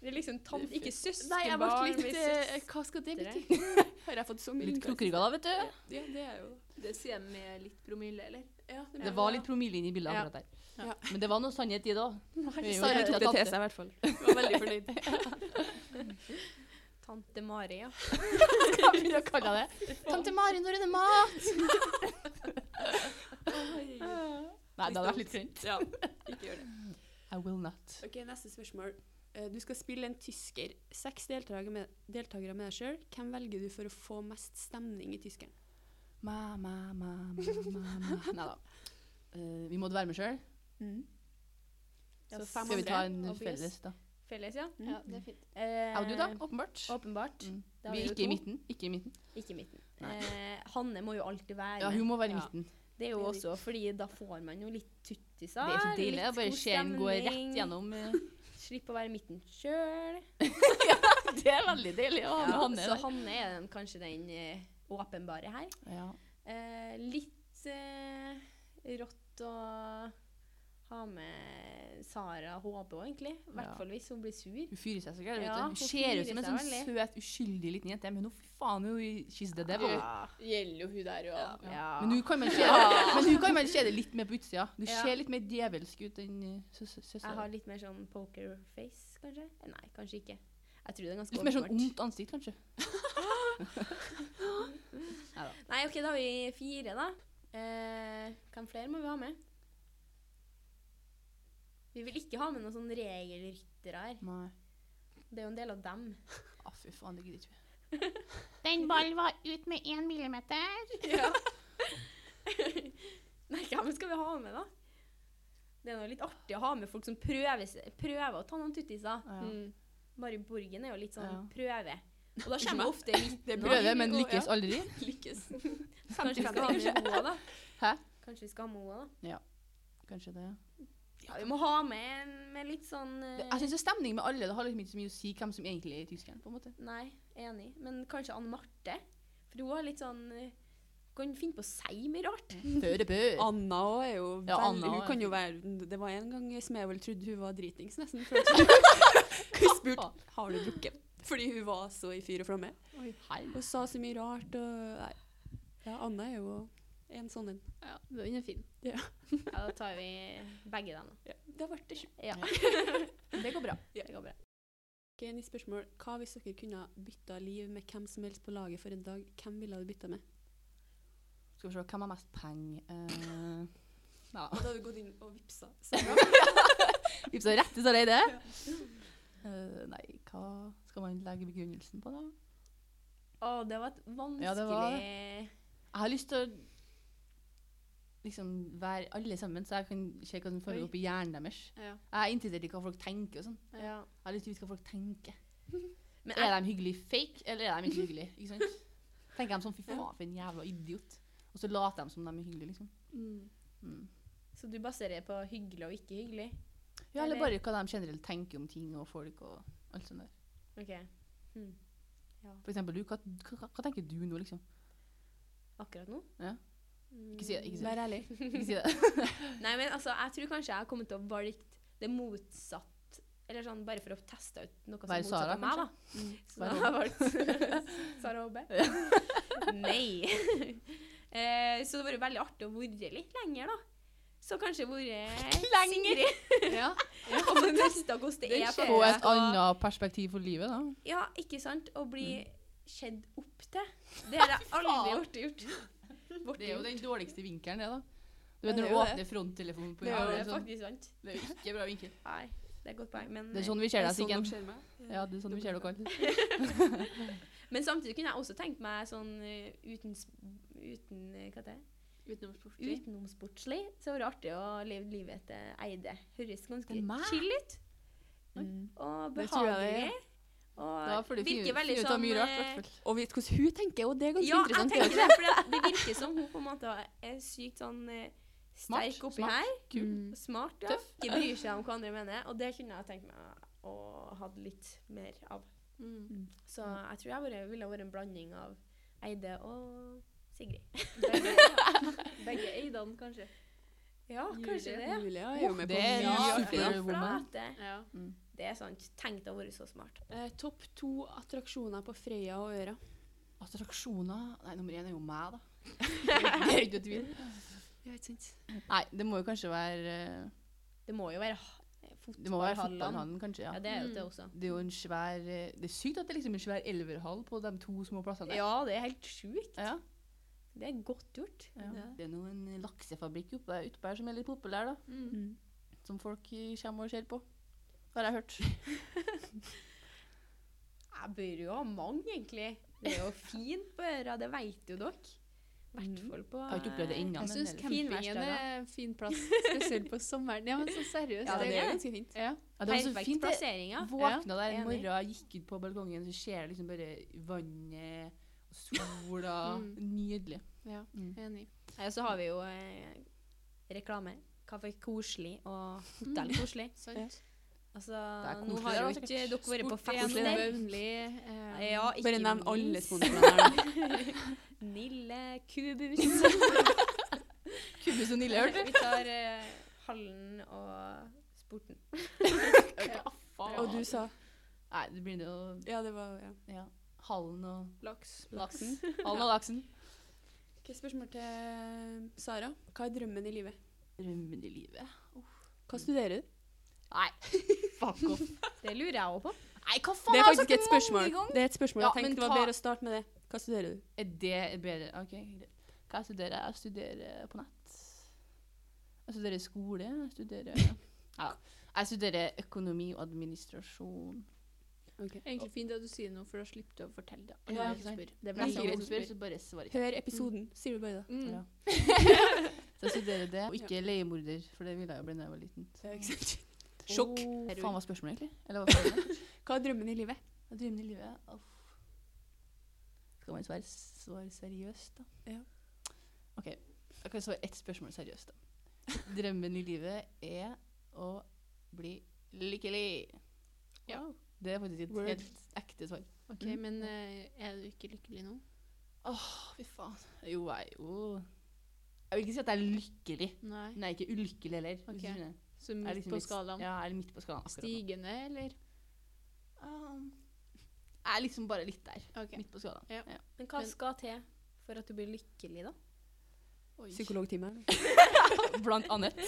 Speaker 4: Det er liksom tant, ikke søskenbarn.
Speaker 1: Nei, jeg ble litt
Speaker 4: men
Speaker 1: eh,
Speaker 4: søs-
Speaker 1: Hva skal det
Speaker 4: søstre.
Speaker 1: bety? Har jeg fått så mye
Speaker 3: Litt
Speaker 1: utkast?
Speaker 3: krokrygga da, vet du.
Speaker 1: Ja, det er jo
Speaker 2: Det sier de med litt promille, eller?
Speaker 1: ja,
Speaker 3: Det var litt promille inn i bildet
Speaker 2: Ja.
Speaker 3: akkurat der.
Speaker 1: Ja.
Speaker 3: Men det var noe sannhet i det òg.
Speaker 1: Nei,
Speaker 3: Jo,
Speaker 1: Sara
Speaker 3: det er
Speaker 1: tok det
Speaker 3: tante.
Speaker 1: til seg, i hvert fall. Hun var veldig fornøyd.
Speaker 4: Tante Mari, ja.
Speaker 3: Hva vil jeg kalle det? Tante Mari, når er det mat? Nei, det hadde vært litt kleint.
Speaker 1: Ja, ikke gjør det.
Speaker 3: I will not.
Speaker 1: Ok, Neste spørsmål. Eh, Du skal spille en tysker. Seks deltakere med, deltakere med deg sjøl. Hvem velger du for å få mest stemning i tyskeren?
Speaker 3: Ma, ma, ma, ma, ma, ma. Nei da. Eh, vi måtte være med sjøl. Mm.
Speaker 4: Ja,
Speaker 1: Så
Speaker 4: fem
Speaker 3: Skal vi
Speaker 4: andre,
Speaker 3: ta en
Speaker 4: obvious.
Speaker 3: felles, da?
Speaker 4: Felles, ja.
Speaker 1: Mm.
Speaker 2: det er fint.
Speaker 4: Eh,
Speaker 3: Jeg og du, da? Åpenbart.
Speaker 4: Åpenbart.
Speaker 3: Mm.
Speaker 4: Da har
Speaker 3: Vi
Speaker 4: vi jo
Speaker 3: ikke i
Speaker 4: to.
Speaker 3: midten. Ikke i midten.
Speaker 4: Ikke i midten.
Speaker 3: Nei.
Speaker 4: Eh, Hanne må jo alltid være
Speaker 3: Ja,
Speaker 4: med.
Speaker 3: hun må være i
Speaker 1: Ja.
Speaker 3: midten.
Speaker 4: Det er jo
Speaker 1: Det er
Speaker 4: også fordi da får man jo litt tuttiser.
Speaker 3: Det er så deilig.
Speaker 4: litt
Speaker 3: da. Bare
Speaker 4: god
Speaker 3: se den gå rett
Speaker 4: stemning.
Speaker 3: gjennom. eh.
Speaker 4: Slipp å være i midten sjøl.
Speaker 3: Det er veldig deilig å ha med Hanne
Speaker 4: så
Speaker 3: der.
Speaker 4: Hanne er den, kanskje den eh, åpenbare her.
Speaker 3: Ja.
Speaker 4: Eh, litt eh, rått å ha med Sara HB òg, egentlig. I hvert
Speaker 3: Ja.
Speaker 4: fall hvis hun blir sur.
Speaker 3: Hun fyrer seg så gærent. vet
Speaker 4: Ja,
Speaker 3: du.
Speaker 4: hun
Speaker 3: hun ser
Speaker 4: fyrer
Speaker 3: ut som en
Speaker 4: seg
Speaker 3: sånn søt, uskyldig liten jente, men hun fy faen hun She's the devil.
Speaker 4: Ja.
Speaker 2: Gjelder jo hun der jo.
Speaker 4: Ja.
Speaker 3: Men hun kan man se, men hun kan man se det litt mer på utsida. Du
Speaker 4: Ja.
Speaker 3: ser litt mer djevelsk ut enn eh, søs-
Speaker 4: Jeg har
Speaker 3: søstera.
Speaker 4: litt mer sånn pokerface, kanskje? Nei, kanskje ikke. Jeg tror det er ganske
Speaker 3: Litt mer sånn
Speaker 4: åpenbart.
Speaker 3: ondt ansikt, kanskje.
Speaker 4: Nei, OK, da har vi fire, da. Eh, hvem flere må vi ha med? Vi vil ikke ha med noen sånne regelryttere her.
Speaker 3: Nei.
Speaker 4: Det er jo en del av dem.
Speaker 3: Å, fy faen, det gidder ikke vi.
Speaker 5: Den ballen var ut med én millimeter.
Speaker 4: Nei, hvem skal vi ha med, da? Det er noe litt artig å ha med folk som prøver, seg- prøver å ta noen tuttiser.
Speaker 3: Ja.
Speaker 2: Mm.
Speaker 4: Mari Borgen er jo litt sånn
Speaker 3: Ja.
Speaker 4: prøve. Og da kommer hun ofte litt
Speaker 1: Det
Speaker 3: Prøver, men lykkes aldri.
Speaker 1: Lykkes.
Speaker 4: Kanskje vi skal ha med henne da?
Speaker 3: Hæ?
Speaker 4: Kanskje vi skal ha med henne da?
Speaker 3: Kanskje det.
Speaker 4: Ja, vi må ha med en med litt sånn eh,
Speaker 3: Det- altså, Jeg syns stemning med alle. Det har liksom ikke så mye å si hvem som egentlig er tyskeren. på en måte.
Speaker 4: Nei, enig. Men kanskje Anne Marte? For hun er litt sånn eh, Kan finne på å si mye rart.
Speaker 3: Føre bør.
Speaker 1: Anna òg er jo
Speaker 3: Ja,
Speaker 1: veldig
Speaker 3: Anna
Speaker 1: Hun
Speaker 3: også.
Speaker 1: kan jo være Det var en gang Smevold trodde hun var dritings, nesten. For hun spurte har du drukket. Fordi hun var så i fyr og flamme.
Speaker 3: Oi,
Speaker 1: Og sa så mye rart og Nei. Ja, Anna er jo en sånn en.
Speaker 2: Ja, den er fin.
Speaker 4: Ja, da tar vi begge dem, da.
Speaker 1: Ja, det ble det sjukt.
Speaker 4: Ja.
Speaker 3: Det går bra.
Speaker 4: Det går bra.
Speaker 1: Ok, nytt spørsmål. Hva hvis dere kunne bytta liv med hvem som helst på laget for en dag? Hvem ville du bytta med?
Speaker 3: Skal vi se, hvem har mest penger? Uh, ja.
Speaker 1: Og da hadde du gått inn og vippsa. Sara.
Speaker 3: Gipsa rett til Sara Eide. Eh, nei, hva skal man legge begrunnelsen på, da?
Speaker 4: Å, det var et vanskelig
Speaker 3: Ja, det var Jeg har lyst til å liksom være alle sammen, så jeg kan se hva som
Speaker 2: Oi.
Speaker 3: foregår oppi hjernen deres.
Speaker 2: Ja.
Speaker 3: Jeg er interessert i hva folk tenker og sånn.
Speaker 4: ja.
Speaker 3: Jeg har lyst til å vite hva folk tenker.
Speaker 4: Men
Speaker 3: Er de hyggelig fake, eller er de ikke hyggelige? Ikke sant? Tenker de sånn fy faen, for en jævla idiot. Og så later de som de er hyggelige, liksom. Mm.
Speaker 4: Så du baserer på hyggelig og ikke hyggelig?
Speaker 3: Ja, eller
Speaker 4: Eller-
Speaker 3: bare hva de generelt tenker om ting og folk og alt sånt der.
Speaker 4: Ok,
Speaker 3: For eksempel du, hva, hva, hva tenker du nå, liksom?
Speaker 4: Akkurat nå?
Speaker 3: Ja. Ikke si det, ikke si det.
Speaker 1: Vær ærlig.
Speaker 3: Ikke si det.
Speaker 4: Nei, men altså, jeg tror kanskje jeg har kommet til å valgt det motsatt. Eller sånn bare for å teste ut noe som
Speaker 3: Være
Speaker 4: er motsatt
Speaker 3: Sara,
Speaker 4: av meg, da. Mm. Så da
Speaker 3: Være
Speaker 4: har jeg valgt Sara Hobbe. Nei. Eh, så det har vært veldig artig å være litt lenger, da. Så kanskje vært lenger
Speaker 2: Ja.
Speaker 4: og få testa hvordan det
Speaker 2: Den
Speaker 4: er.
Speaker 2: skjer.
Speaker 4: på
Speaker 3: Få et
Speaker 4: å-
Speaker 3: annet perspektiv for livet, da.
Speaker 4: Ja, ikke sant? Å bli skjedd opp til. Det har jeg aldri
Speaker 3: Faen.
Speaker 4: gjort. gjort. Borte
Speaker 3: Det er jo
Speaker 4: gjort.
Speaker 3: den dårligsteste vinkelen, det, da. Du vet
Speaker 1: Ja, det
Speaker 3: når du
Speaker 1: er jo
Speaker 3: åpner fronttelefonen på
Speaker 1: Det er
Speaker 4: Ja,
Speaker 1: jo
Speaker 3: jobben, det,
Speaker 4: det er
Speaker 3: sånn,
Speaker 4: faktisk sant.
Speaker 3: det er jo ikke bra vinkel.
Speaker 4: Nei, det er et godt poeng, men
Speaker 3: Det er sånn vi ser
Speaker 1: Er
Speaker 3: deg,
Speaker 1: det sånn
Speaker 3: Sikken.
Speaker 1: dere ser meg?
Speaker 3: Ja, det er sånn vi ser dere alle.
Speaker 4: Men samtidig kunne jeg også tenkt meg sånn eh, uten, s- uten eh, hva det er?
Speaker 2: Utenomsportslig.
Speaker 4: Utenomsportslig. Så var det artig å leve livet til Eide. Høres ganske
Speaker 3: Det er meg.
Speaker 4: chill ut.
Speaker 3: Mm.
Speaker 4: Og
Speaker 1: Det tror jeg det er,
Speaker 4: behagelig.
Speaker 3: Da
Speaker 4: Og
Speaker 3: får du finne ut-
Speaker 4: virker
Speaker 3: finne
Speaker 4: veldig
Speaker 3: ut av
Speaker 4: sånn
Speaker 3: mye rart, i
Speaker 4: eh,
Speaker 3: hvert fall.
Speaker 1: Og vet hvordan hun tenker, og det er ganske
Speaker 4: Ja, jeg
Speaker 1: interessant.
Speaker 4: tenker det. For det, det virker som hun på en måte er sykt sånn eh,
Speaker 3: Smart,
Speaker 4: sterk oppi
Speaker 3: smart.
Speaker 4: her.
Speaker 3: Kul.
Speaker 2: Mm.
Speaker 4: Smart, ja. Ikke bryr seg om hva andre mener. Og det kunne jeg tenkt meg å ha litt mer av.
Speaker 2: Mm.
Speaker 4: Så
Speaker 3: Mm.
Speaker 4: jeg tror jeg bare ville vært en blanding av Eide og Sigrid.
Speaker 2: Begge, begge eidene, kanskje.
Speaker 4: Ja, kanskje det.
Speaker 1: Julie er jo med på
Speaker 3: det er
Speaker 1: mye
Speaker 3: ja,
Speaker 1: artig.
Speaker 3: super. Superwoman.
Speaker 4: flate.
Speaker 2: Ja.
Speaker 4: Det er sant. Tenk deg å være så smart.
Speaker 1: Eh, Topp to attraksjoner på Frøya og Øra.
Speaker 3: Attraksjoner Nei, nummer én er jo meg, da. Det er ikke noe tvil.
Speaker 1: Ja, ikke sant?
Speaker 3: Nei, det må jo kanskje være eh,
Speaker 4: Det må jo være
Speaker 3: Det må være
Speaker 4: fotballhallen.
Speaker 3: fotballhallen, kanskje.
Speaker 4: Ja,
Speaker 3: ja.
Speaker 4: det er jo
Speaker 2: Mm.
Speaker 4: det også.
Speaker 3: Det er jo en svær eh, Det er sykt at det er liksom en svær elverhall på de to små plassene der.
Speaker 4: Ja, det er helt sjukt.
Speaker 3: Ja,
Speaker 4: Det er godt gjort.
Speaker 3: ja. Det er noen laksefabrikk oppe der, oppe her som er litt populær, da.
Speaker 2: Mm.
Speaker 3: Som folk eh, kommer og ser på. Har jeg hørt.
Speaker 4: Jeg bør jo ha mange, egentlig. Det er jo fint på øra, det veit jo dere. I hvert fall på
Speaker 3: Jeg har ikke opplevd det
Speaker 2: Jeg
Speaker 3: ennå. men
Speaker 2: syns
Speaker 3: ellers-
Speaker 2: campingen
Speaker 4: Finværsdager.
Speaker 2: er en fin plass, spesielt på sommeren. Ja, men så seriøst.
Speaker 1: Ja, det
Speaker 2: det
Speaker 1: er ganske fint.
Speaker 2: ja.
Speaker 3: Ja, det var så
Speaker 4: Perfekt
Speaker 3: fint. det.
Speaker 4: plassering, ja.
Speaker 3: Våkna der en
Speaker 4: enig.
Speaker 3: morgen, gikk ut på balkongen, så ser jeg liksom bare vannet og sola.
Speaker 2: Mm.
Speaker 3: Nydelig.
Speaker 2: ja.
Speaker 3: Mm.
Speaker 2: Enig.
Speaker 4: Ja, så har vi jo eh, reklame. Kaffe koselig og hotell koselig.
Speaker 2: Sant.
Speaker 4: Altså,
Speaker 3: Det er
Speaker 4: nå
Speaker 3: koselig,
Speaker 4: har
Speaker 3: det
Speaker 4: jo
Speaker 3: er
Speaker 4: ikke
Speaker 3: sikkert.
Speaker 4: dere vært på
Speaker 2: Sport igjen,
Speaker 4: fest
Speaker 2: det
Speaker 4: der.
Speaker 2: var Vøvnli, eh,
Speaker 4: Ja, ikke
Speaker 1: Bare nevn alle
Speaker 4: minst
Speaker 1: sponsorene her. nå.
Speaker 4: Nille Kubus.
Speaker 3: Kubus og Nille, hørte
Speaker 4: vi tar eh, hallen og sporten.
Speaker 1: Og du sa
Speaker 3: Nei, det blir noe
Speaker 1: Ja, det var ja.
Speaker 3: ja. Hallen og
Speaker 1: Laks.
Speaker 3: laksen. Hallen og laksen.
Speaker 1: Ok, spørsmål til eh, Sara. Hva er drømmen i livet?
Speaker 3: Drømmen i livet.
Speaker 1: Hva studerer du?
Speaker 3: Nei, fuck off.
Speaker 4: Det lurer jeg òg på.
Speaker 3: Nei, hva faen?
Speaker 1: Det er
Speaker 3: jeg har sagt
Speaker 1: faktisk et
Speaker 3: mange
Speaker 1: spørsmål.
Speaker 3: ganger.
Speaker 1: Det er et spørsmål.
Speaker 3: Ja,
Speaker 1: Jeg tenkte
Speaker 3: men
Speaker 1: det var
Speaker 3: ta-
Speaker 1: bedre å starte med det. Hva studerer du?
Speaker 3: Er det bedre? Ok, greit. Hva jeg studerer jeg? Jeg studerer på nett. Jeg studerer skole. Jeg studerer ja. Jeg studerer økonomi og administrasjon.
Speaker 2: Egentlig fint at du sier noe, for da slipper du å fortelle det.
Speaker 3: Ja,
Speaker 2: Alle
Speaker 3: ikke sant.
Speaker 2: spør. Det er
Speaker 3: Neste
Speaker 2: veldig
Speaker 3: gang
Speaker 2: mange
Speaker 3: du
Speaker 2: som
Speaker 3: spør,
Speaker 2: spør.
Speaker 3: så bare svar ikke.
Speaker 1: Hør episoden, sier du bare da.
Speaker 2: Mm.
Speaker 3: Ja. Så jeg studerer det, og ikke leiemorder, for det ville jeg jo bli da jeg var liten.
Speaker 1: Ja, ikke sant? Sjokk.
Speaker 3: Hva faen var spørsmålet, egentlig? Eller hva faen var det?
Speaker 1: Hva er drømmen i livet?
Speaker 3: Jeg drømmer i livet av Skal man svare, svare seriøst, da?
Speaker 1: Ja.
Speaker 3: OK. Jeg kan svare ett spørsmål seriøst, da. Drømmen i livet er å bli lykkelig.
Speaker 2: Ja.
Speaker 3: Det er faktisk et
Speaker 1: Word.
Speaker 3: helt ekte svar.
Speaker 2: Ok,
Speaker 3: Mm.
Speaker 2: men eh, er du ikke lykkelig nå?
Speaker 3: Å, fy faen. Jo, jeg er jo Jeg vil ikke si at jeg er lykkelig.
Speaker 2: Nei.
Speaker 3: Nei, ikke ulykkelig heller. hvis
Speaker 2: Ok.
Speaker 3: du skjønner.
Speaker 2: Så
Speaker 3: Jeg er
Speaker 2: midt
Speaker 3: liksom
Speaker 2: på
Speaker 3: litt-
Speaker 2: skalaen.
Speaker 3: Ja, jeg er midt på skalaen akkurat nå.
Speaker 2: Stigende, eller?
Speaker 3: Um, jeg er liksom bare litt der.
Speaker 2: Ok.
Speaker 3: Midt på skalaen.
Speaker 2: Ja.
Speaker 4: Men hva skal til for at du blir lykkelig, da?
Speaker 2: Oi.
Speaker 1: Psykologtime?
Speaker 3: Blant annet.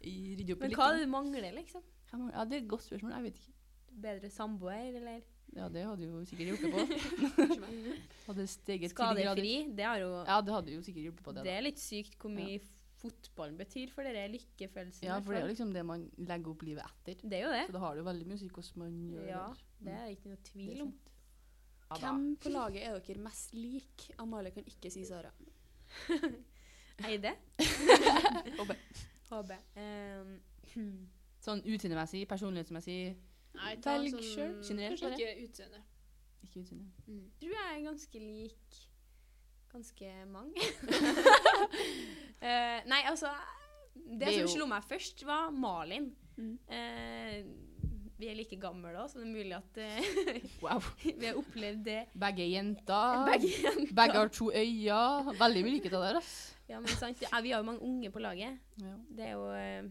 Speaker 3: I- Rydde opp i
Speaker 4: Men
Speaker 3: litt.
Speaker 4: hva
Speaker 3: ting.
Speaker 4: du mangler, liksom?
Speaker 3: Jeg må- Ja, det er et godt spørsmål. Jeg vet ikke.
Speaker 4: Bedre samboer, eller
Speaker 3: Ja, det hadde jo sikkert hjulpet på. hadde steget til de grader.
Speaker 4: skadefri? Det, har jo,
Speaker 3: Ja, det hadde jo sikkert hjulpet på det.
Speaker 4: det,
Speaker 3: da.
Speaker 4: er litt sykt hvor mye fotballen betyr for dere lykkefølelsen.
Speaker 3: Ja,
Speaker 4: i hvert
Speaker 3: for det er jo
Speaker 4: fall.
Speaker 3: liksom det man legger opp livet etter.
Speaker 4: det er jo det.
Speaker 3: Så det har det jo veldig mye å si hvordan man gjør
Speaker 4: Ja,
Speaker 3: det.
Speaker 4: Det er ikke noe
Speaker 3: Mm. Det er
Speaker 4: tvil om.
Speaker 3: sant. Ja, da.
Speaker 1: Hvem på laget er dere mest lik? Amalie kan ikke si Sara.
Speaker 4: Eide?
Speaker 1: Håbe.
Speaker 4: HB. Um,
Speaker 3: Sånn utseendemessig, personlighetsmessig
Speaker 2: Nei, ta
Speaker 1: Velg
Speaker 2: sånn-
Speaker 1: selv,
Speaker 3: generelt,
Speaker 2: Kanskje Mm.
Speaker 3: bare.
Speaker 2: ikke utseende.
Speaker 3: Ikke utseende.
Speaker 4: tror jeg er ganske lik Ganske mange. Eh, nei, altså Det,
Speaker 3: Det er
Speaker 4: som
Speaker 3: jo-
Speaker 4: slo meg først, var Malin.
Speaker 2: Mm.
Speaker 4: Eh, vi er like gamle òg, så det er mulig at eh,
Speaker 3: Wow.
Speaker 4: vi har opplevd det
Speaker 3: Begge er jenter.
Speaker 4: begge igjen.
Speaker 3: Ah, Begge har to øyne. Veldig mye likhet av der, ass.
Speaker 4: Ja, men sant, det er- vi har jo mange unge på laget.
Speaker 3: Ja.
Speaker 4: Det er jo eh,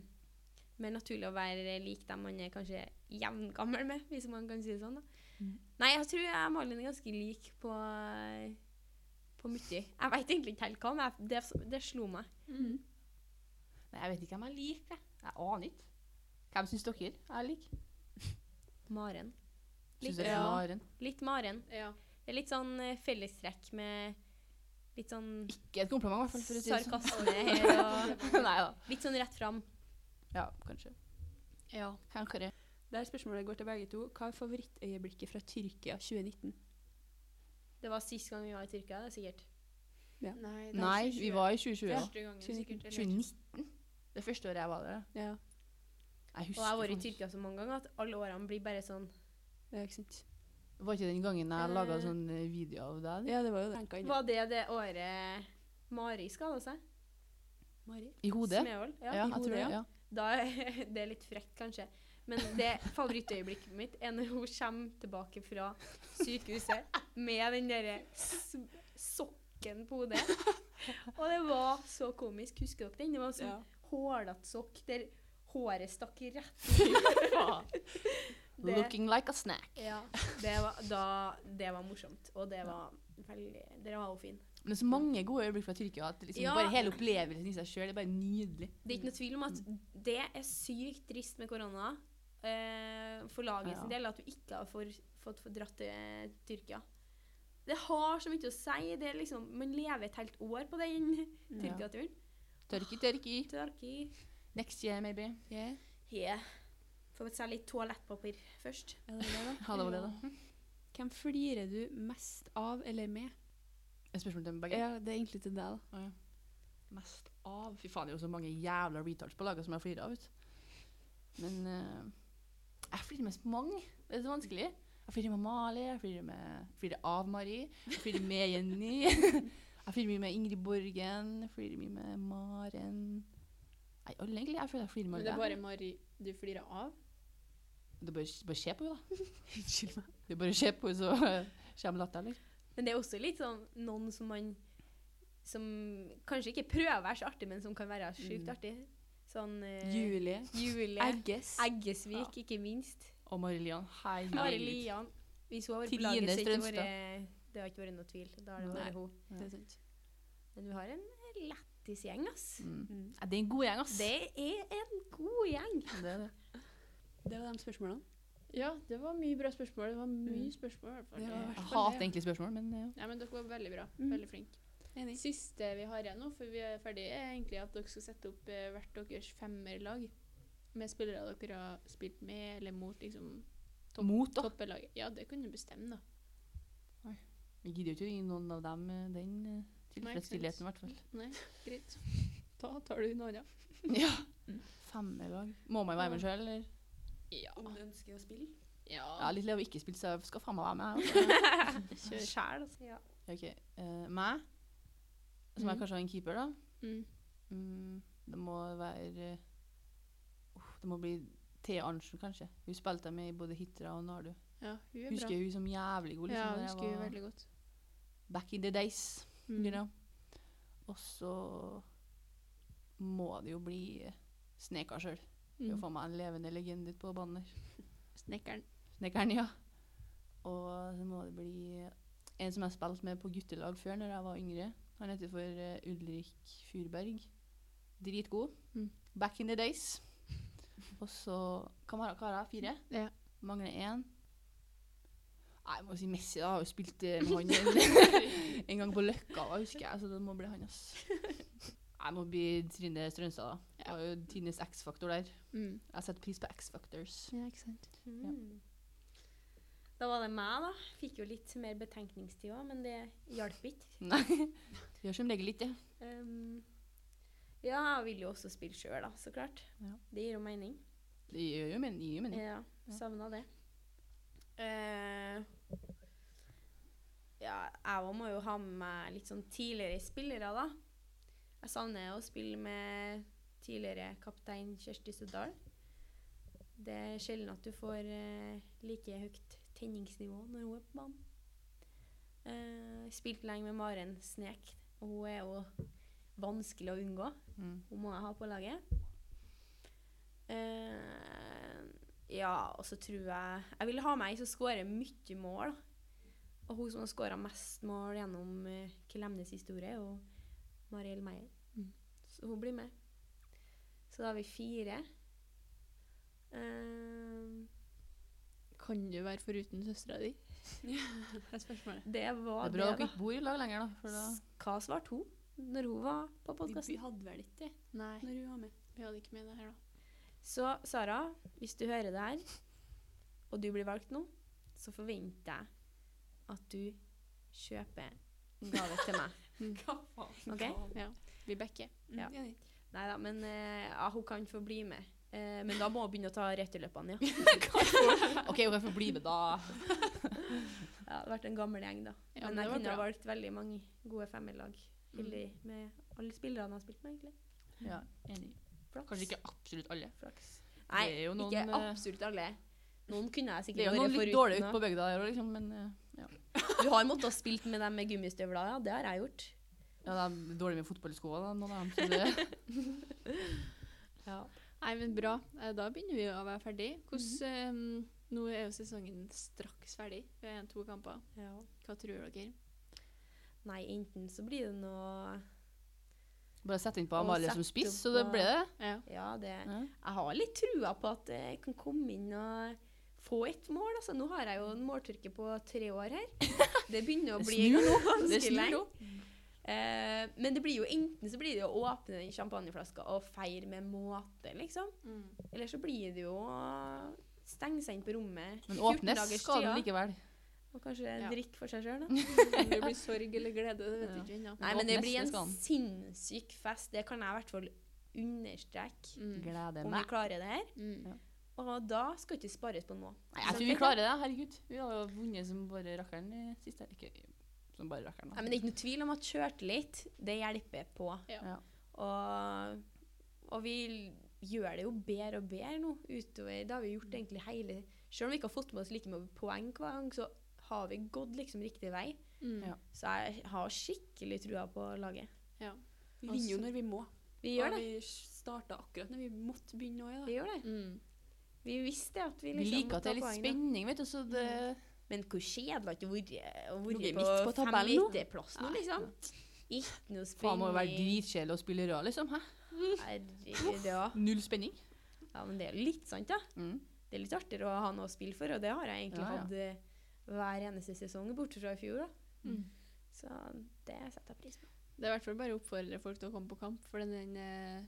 Speaker 4: mer naturlig å være lik dem man er kanskje jevngammel med, hvis man kan si det sånn. da.
Speaker 3: Mm.
Speaker 4: Nei, jeg tror jeg og Malin er ganske lik på, eh, på mye. Jeg veit egentlig ikke helt hva, men jeg, det, det slo meg.
Speaker 3: Mm. Nei, jeg vet ikke hvem jeg liker. jeg. Jeg aner ikke. Hvem syns dere jeg liker?
Speaker 4: Maren.
Speaker 3: Syns
Speaker 2: Liker-
Speaker 3: jeg
Speaker 2: Ja.
Speaker 3: Maren.
Speaker 4: Litt Maren.
Speaker 2: Ja.
Speaker 4: Det er litt sånn eh, fellestrekk med litt sånn
Speaker 3: Ikke et kompliment, i hvert fall. for å si det sånn.
Speaker 4: sarkasme her og
Speaker 3: Nei da.
Speaker 4: litt sånn rett fram.
Speaker 3: Ja, kanskje.
Speaker 1: Ja.
Speaker 3: Kanskje det.
Speaker 1: Der spørsmålet går til begge to. Hva er favorittøyeblikket fra Tyrkia 2019?
Speaker 4: Det var sist gang vi var i Tyrkia, det er sikkert.
Speaker 2: Nei, det er
Speaker 3: Nei,
Speaker 2: ikke
Speaker 3: vi
Speaker 2: 20.
Speaker 3: var i 2020. Ja.
Speaker 2: Første gangen,
Speaker 1: 2019.
Speaker 2: sikkert. eller-
Speaker 3: 2019? Det første året jeg var der.
Speaker 1: Ja,
Speaker 3: Jeg
Speaker 4: Og
Speaker 3: husker
Speaker 4: jeg har vært i
Speaker 3: faen ikke.
Speaker 4: Tyrkia så mange ganger at alle årene blir bare sånn
Speaker 1: det er ikke sant.
Speaker 3: Var ikke den gangen jeg laga
Speaker 4: Eh.
Speaker 3: sånn eh, video av deg? det?
Speaker 1: Ja, det var jo det. Tenka inn
Speaker 4: Var det det året Mari skada seg?
Speaker 1: Mari.
Speaker 3: I hodet?
Speaker 4: Smevold?
Speaker 3: Ja,
Speaker 4: Ja.
Speaker 1: i
Speaker 3: jeg tror
Speaker 1: hodet,
Speaker 3: det.
Speaker 1: ja.
Speaker 3: Ja.
Speaker 4: Da, det er litt frekt, kanskje. Men det favorittøyeblikket mitt er når hun kommer tilbake fra sykehuset med den derre s- sokken på hodet. Og det var så komisk. Husker dere den? Det var sånn
Speaker 1: Ja.
Speaker 4: hålete sokk der håret stakk rett ut. Det,
Speaker 3: Looking like a snack.
Speaker 4: ja, det, var, da, det var morsomt. Og det var veldig Dere var jo fin.
Speaker 3: Men så mange gode øyeblikk fra Tyrkia. At liksom
Speaker 4: Ja.
Speaker 3: bare Hele opplevelsen i seg sjøl er bare nydelig.
Speaker 4: Det er ikke noe tvil om at det er sykt trist med korona. eh, for laget sin
Speaker 3: Ja.
Speaker 4: del at du ikke har for, fått fått dratt til Tyrkia. Det har så mye å si. Det er liksom, man lever et helt år på den Tyrkia-turen.
Speaker 3: Tørki, tørki.
Speaker 4: Tørki.
Speaker 3: Next year, maybe.
Speaker 1: Yeah.
Speaker 4: Yeah. Får seg litt toalettpapir først.
Speaker 1: Er det det, da?
Speaker 3: Ha det var det, da.
Speaker 1: Hvem flirer du mest av eller med?
Speaker 3: Et spørsmål til
Speaker 4: Eh,
Speaker 3: begge.
Speaker 1: Ja, Det er egentlig til deg, da.
Speaker 3: Mest av Fy faen, det er jo så mange jævla retards på laget som jeg flirer av. vet du. Men eh, jeg flirer mest med mange. Det er så vanskelig. Jeg flirer med Mali, jeg flirer, med, flirer av Mari, jeg flirer med Jenny. jeg flirer mye med Ingrid Borgen, jeg flirer mye med Maren. Nei, alle egentlig. Jeg føler jeg flirer
Speaker 2: Men
Speaker 3: med
Speaker 2: det er
Speaker 3: alle.
Speaker 2: bare Mari du flirer av.
Speaker 3: Det er bare, bare se på henne, da. Unnskyld meg. Det er bare å se på henne, så eh, kommer latteren. liksom.
Speaker 4: Men det er også litt sånn noen som man Som kanskje ikke prøver å være så artig, men som kan være sjukt
Speaker 3: Mm.
Speaker 4: artig. Sånn eh,
Speaker 1: Julie.
Speaker 4: Julie.
Speaker 1: Egges.
Speaker 4: Eggesvik, ikke minst.
Speaker 3: Og Marilian. Hei,
Speaker 4: Bare
Speaker 3: herregud.
Speaker 4: Lian. Hvis hun har vært på
Speaker 3: Trine
Speaker 4: laget, så har
Speaker 3: Strømstad.
Speaker 4: det ikke vært- det har ikke vært noe tvil. Da har det
Speaker 1: Nei.
Speaker 4: vært hun.
Speaker 1: Det er sant.
Speaker 4: Men vi har en lættis gjeng, ass.
Speaker 3: Mm.
Speaker 1: Mm.
Speaker 3: Ja, Det er en god gjeng, ass.
Speaker 4: Det er en god gjeng.
Speaker 3: det er det.
Speaker 1: Det var de spørsmålene.
Speaker 2: Ja, det var mye bra spørsmål. Det var mye
Speaker 1: Mm.
Speaker 2: spørsmål. i hvert fall.
Speaker 1: Det var verdt
Speaker 2: Det-
Speaker 3: Jeg
Speaker 1: Hvertfall
Speaker 3: hater
Speaker 1: det.
Speaker 3: egentlig spørsmål, men ja.
Speaker 2: Nei, men dere var veldig bra.
Speaker 1: Mm.
Speaker 2: Veldig flinke.
Speaker 1: Enig.
Speaker 2: Siste vi har igjen nå, for vi er ferdige, er egentlig at dere skal sette opp eh, hvert deres femmerlag med spillere dere har spilt med eller mot liksom Topp-
Speaker 3: Mot, da.
Speaker 2: toppelaget. Ja, det kunne du bestemme, da.
Speaker 3: Vi gidder jo ikke å gi noen av dem eh, den eh, tilfredsstillheten, i hvert fall.
Speaker 2: Nei, greit. Da tar du noe annet.
Speaker 3: Ja. Femmerlag. Mm. Må man være med sjøl, eller?
Speaker 2: Ja.
Speaker 1: Om du ønsker å spille?
Speaker 3: Jeg
Speaker 2: ja.
Speaker 3: er litt lei av å ikke spille, så jeg skal faen meg være med. altså. jeg,
Speaker 2: Kjør.
Speaker 4: Sjæl, altså. Ja.
Speaker 3: Altså. OK. eh, meg, som jeg
Speaker 2: Mhm.
Speaker 3: kanskje har en keeper, da.
Speaker 2: Mm.
Speaker 3: Mm, det må være eh, uff, Det må bli Thea Arntzen, kanskje. Hun spilte jeg med i både Hitra og Nardu.
Speaker 2: Ja, hun er bra.
Speaker 3: Husker hun som jævlig god.
Speaker 2: ja,
Speaker 3: Liksom, da jeg
Speaker 2: husker hun
Speaker 3: var-
Speaker 2: veldig godt.
Speaker 3: Back in the days.
Speaker 2: Mm.
Speaker 3: you know. Og så må det jo bli eh, Sneka sjøl. Å
Speaker 2: Mm.
Speaker 3: få meg en levende legende på banen der.
Speaker 2: Snekkeren.
Speaker 3: Snekeren, ja. Og så må det bli en som jeg spilte med på guttelag før, når jeg var yngre. Han heter for eh, Ulrik Furberg. Dritgod.
Speaker 2: Mm.
Speaker 3: Back in the days. Og så Hva har hva har jeg? Fire?
Speaker 2: Ja.
Speaker 3: Mangler én. Nei, jeg må si Messi, da. Jeg har jo spilt eh, med han en, en gang på Løkka, da, husker jeg. Så det må bli han, ass. Jeg må bli Trine Strønstad, da. Jeg har jo Tines X-faktor der.
Speaker 2: Mm.
Speaker 3: Jeg setter pris på X-factors.
Speaker 2: Ja, ikke sant.
Speaker 4: Mm. Da var det meg, da. Fikk jo litt mer betenkningstid òg, men det hjalp ikke.
Speaker 3: Nei. Gjør som regel litt, ja.
Speaker 4: Um, ja, jeg vil jo også spille sjøl, da, så klart.
Speaker 3: Ja.
Speaker 4: Det gir jo mening.
Speaker 3: Det gjør jo men, det gir jo mening.
Speaker 4: Ja,
Speaker 3: Ja.
Speaker 4: savna det. Eh, ja, jeg òg må jo ha med meg litt sånn tidligere spillere, da. Jeg savner å spille med tidligere kaptein Kjersti Søddal. Det er sjelden at du får eh, like høyt tenningsnivå når hun er på banen. Eh, spilte lenge med Maren Snek, og hun er jo vanskelig å unngå.
Speaker 3: Mm.
Speaker 4: Hun må jeg ha på laget. Eh, ja, og så tror jeg Jeg vil ha med ei som skårer mye mål. da. Og hun som har skåra mest mål gjennom eh, Klemnes historie, er jo Mariell Meyer.
Speaker 2: Mm.
Speaker 4: Så hun blir med. Så da har vi fire. Eh,
Speaker 2: Kan du være foruten søstera di? Det er spørsmålet.
Speaker 4: det
Speaker 3: Det
Speaker 4: var
Speaker 3: er
Speaker 4: det,
Speaker 3: bra dere
Speaker 4: da.
Speaker 3: ikke bor i lag lenger, da. For da
Speaker 4: Hva svarte hun når hun var på
Speaker 1: Vi
Speaker 4: podkasten?
Speaker 1: hadde vel ikke det
Speaker 2: Nei,
Speaker 1: når hun var med.
Speaker 2: vi hadde ikke med det her, da.
Speaker 4: Så Sara, hvis du hører det her, og du blir valgt nå, så forventer jeg at du kjøper en gave til meg.
Speaker 1: Hva faen?
Speaker 4: Ok.
Speaker 2: Vi backer.
Speaker 4: Ja.
Speaker 1: Mm, enig.
Speaker 4: Nei da, men eh, ja, hun kan få bli med. Eh, men da må hun begynne å ta returløpene, ja.
Speaker 3: OK, hun kan få bli med, da.
Speaker 4: ja. Det har vært en gammel gjeng, da.
Speaker 2: Ja, men
Speaker 4: men
Speaker 2: det
Speaker 4: jeg
Speaker 2: var
Speaker 4: kunne
Speaker 2: bra.
Speaker 4: ha
Speaker 2: Mm.
Speaker 4: valgt veldig mange gode femmerlag. Heldig med alle spillerne jeg har spilt med, egentlig.
Speaker 3: Ja, enig.
Speaker 4: Flaks.
Speaker 3: Kanskje ikke absolutt alle.
Speaker 4: Nei,
Speaker 3: det er jo noen,
Speaker 4: ikke
Speaker 3: eh,
Speaker 4: absolutt alle. Noen kunne
Speaker 3: Det
Speaker 4: jeg
Speaker 3: er
Speaker 4: sikkert
Speaker 3: jo noen litt
Speaker 4: foruten,
Speaker 3: dårlige ute
Speaker 4: da.
Speaker 3: på bygda her òg, liksom, men eh,
Speaker 4: Du har måttet ha spilt med dem med gummistøvler, ja. Det har jeg gjort.
Speaker 3: ja, de er dårlige med fotballsko da, noen av dem. Så det,
Speaker 2: Nei, men bra. Eh, Da begynner vi å være ferdig. Hvordan, eh, nå er jo sesongen straks ferdig. Vi har igjen to kamper.
Speaker 4: Ja.
Speaker 2: Hva tror dere?
Speaker 4: Nei, enten så blir det noe
Speaker 3: bare sette innpå
Speaker 4: Og
Speaker 3: Amalie som
Speaker 4: sette
Speaker 3: spiss,
Speaker 4: opp
Speaker 3: så det
Speaker 4: på-
Speaker 3: ble det.
Speaker 2: Ja.
Speaker 4: Ja, det
Speaker 3: Ja.
Speaker 4: Jeg har litt trua på at jeg kan komme inn og få et mål. Altså, nå har jeg jo en måltørke på tre år her. Det begynner å
Speaker 3: Det
Speaker 4: bli
Speaker 3: snur Det
Speaker 4: ganske
Speaker 3: snur
Speaker 4: lenge.
Speaker 3: nå.
Speaker 4: Eh, men det blir jo enten så blir det å åpne den champagneflaska og feire med måte, liksom.
Speaker 2: Mm.
Speaker 4: Eller så blir det jo å stenge seg inn på rommet
Speaker 3: Men
Speaker 4: 14
Speaker 3: åpnes
Speaker 4: dagers
Speaker 3: skal den
Speaker 4: tida,
Speaker 3: likevel.
Speaker 4: Og kanskje
Speaker 2: Ja.
Speaker 4: drikke for seg sjøl, da.
Speaker 2: Om det blir sorg eller glede, det vet vi
Speaker 3: Ja.
Speaker 2: ikke ennå.
Speaker 4: Nei, men det
Speaker 3: åpnes,
Speaker 4: blir
Speaker 3: det skal
Speaker 4: en
Speaker 3: den.
Speaker 4: sinnssyk fest. Det kan jeg i hvert fall understreke.
Speaker 2: Mm.
Speaker 3: Gleder
Speaker 4: Om vi
Speaker 3: meg.
Speaker 4: klarer det her.
Speaker 2: Mm.
Speaker 4: Og da skal ikke spares på noe.
Speaker 3: Nei, jeg tror vi klarer det. Herregud. Vi har jo vunnet som bare rakkeren eh, sist her. Ikke som bare rakkeren,
Speaker 4: Nei,
Speaker 3: da.
Speaker 4: men det er ikke noe tvil om at sjøltillit, det hjelper på.
Speaker 2: Ja.
Speaker 3: Ja.
Speaker 4: Og, og vi gjør det jo bedre og bedre nå utover. Det har vi gjort egentlig hele Selv om vi ikke har fått med oss like mange poeng hver gang, så har vi gått liksom riktig vei.
Speaker 2: Mm.
Speaker 3: Ja.
Speaker 4: Så jeg har skikkelig trua på laget.
Speaker 1: Vi vinner jo når Altså, vi må.
Speaker 4: Vi gjør
Speaker 1: og
Speaker 4: det.
Speaker 1: Vi starta akkurat når vi måtte begynne òg.
Speaker 4: Vi gjør det.
Speaker 2: Mm.
Speaker 4: Vi visste at vi
Speaker 3: Vi
Speaker 4: liksom
Speaker 3: liker at det er litt
Speaker 4: poeng, da. Mm.
Speaker 3: spenning, vet du, så det
Speaker 4: Men hvor kjedelig at det har vært
Speaker 3: Ligger
Speaker 4: å
Speaker 3: midt på
Speaker 4: være på
Speaker 3: tabellen nå.
Speaker 4: femmeterplass nå, liksom. Ikke noe
Speaker 3: Faen må jo være
Speaker 4: spenning.
Speaker 3: dritkjedelig å spille rød, liksom. Hæ?
Speaker 4: Herregud, ja.
Speaker 3: Null spenning.
Speaker 4: ja. Men det er jo litt sant, da.
Speaker 3: Mm.
Speaker 4: det er litt artigere å ha noe å spille for, og det har jeg egentlig
Speaker 3: Ja, ja.
Speaker 4: hatt eh, hver eneste sesong, bortsett fra i fjor. da.
Speaker 2: Mm.
Speaker 4: Så det setter jeg pris på.
Speaker 2: Det er i hvert fall bare å oppfordre folk til å komme på kamp, for den, den eh,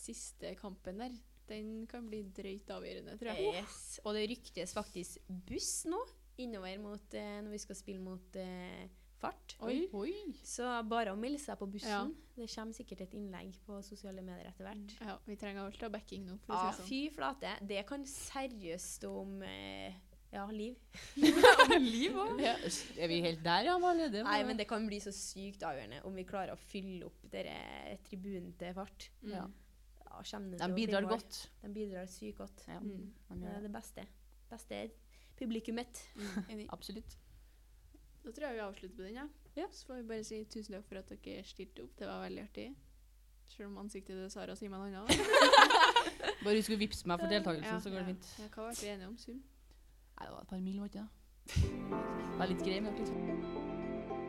Speaker 2: siste kampen der, den kan bli drøyt avgjørende, tror jeg.
Speaker 4: Yes. Og det ryktes faktisk buss nå, innover mot eh, når vi skal spille mot eh, Fart.
Speaker 2: Oi.
Speaker 3: Oi.
Speaker 4: Så bare å melde seg på bussen.
Speaker 2: Ja.
Speaker 4: Det kommer sikkert et innlegg på sosiale medier etter hvert.
Speaker 2: Ja, vi trenger alt av backing nå, for
Speaker 4: Ja,
Speaker 2: å si det sånn.
Speaker 4: fy flate. Det kan seriøst stå om eh, ja, liv.
Speaker 3: Liv òg. Er vi helt der, ja, Amalie? Det var-
Speaker 4: Nei, men det kan bli så sykt avgjørende om vi klarer å fylle opp dere tribunen til Fart.
Speaker 2: Mm.
Speaker 3: Ja.
Speaker 4: Ja, kommer det til
Speaker 3: De
Speaker 4: å bli
Speaker 3: bidrar
Speaker 4: mål?
Speaker 3: godt.
Speaker 4: De bidrar sykt godt.
Speaker 3: Ja,
Speaker 2: Mm.
Speaker 3: de
Speaker 4: Det
Speaker 3: gjør
Speaker 4: er
Speaker 3: det.
Speaker 4: det beste. Beste publikummet.
Speaker 3: Absolutt.
Speaker 2: Da tror jeg vi avslutter på den, ja.
Speaker 4: Ja.
Speaker 2: Så får vi bare si tusen takk for at dere stilte opp, det var veldig artig. Selv om ansiktet til Sara sier meg noe annet.
Speaker 3: Bare husk å vippse meg for deltakelsen,
Speaker 2: Ja,
Speaker 3: så går det
Speaker 2: ja.
Speaker 3: fint.
Speaker 2: Ja, hva ble vi enige om, Sum?
Speaker 3: Nei, det var et par mil, var det ikke det? Det var litt grei, men liksom.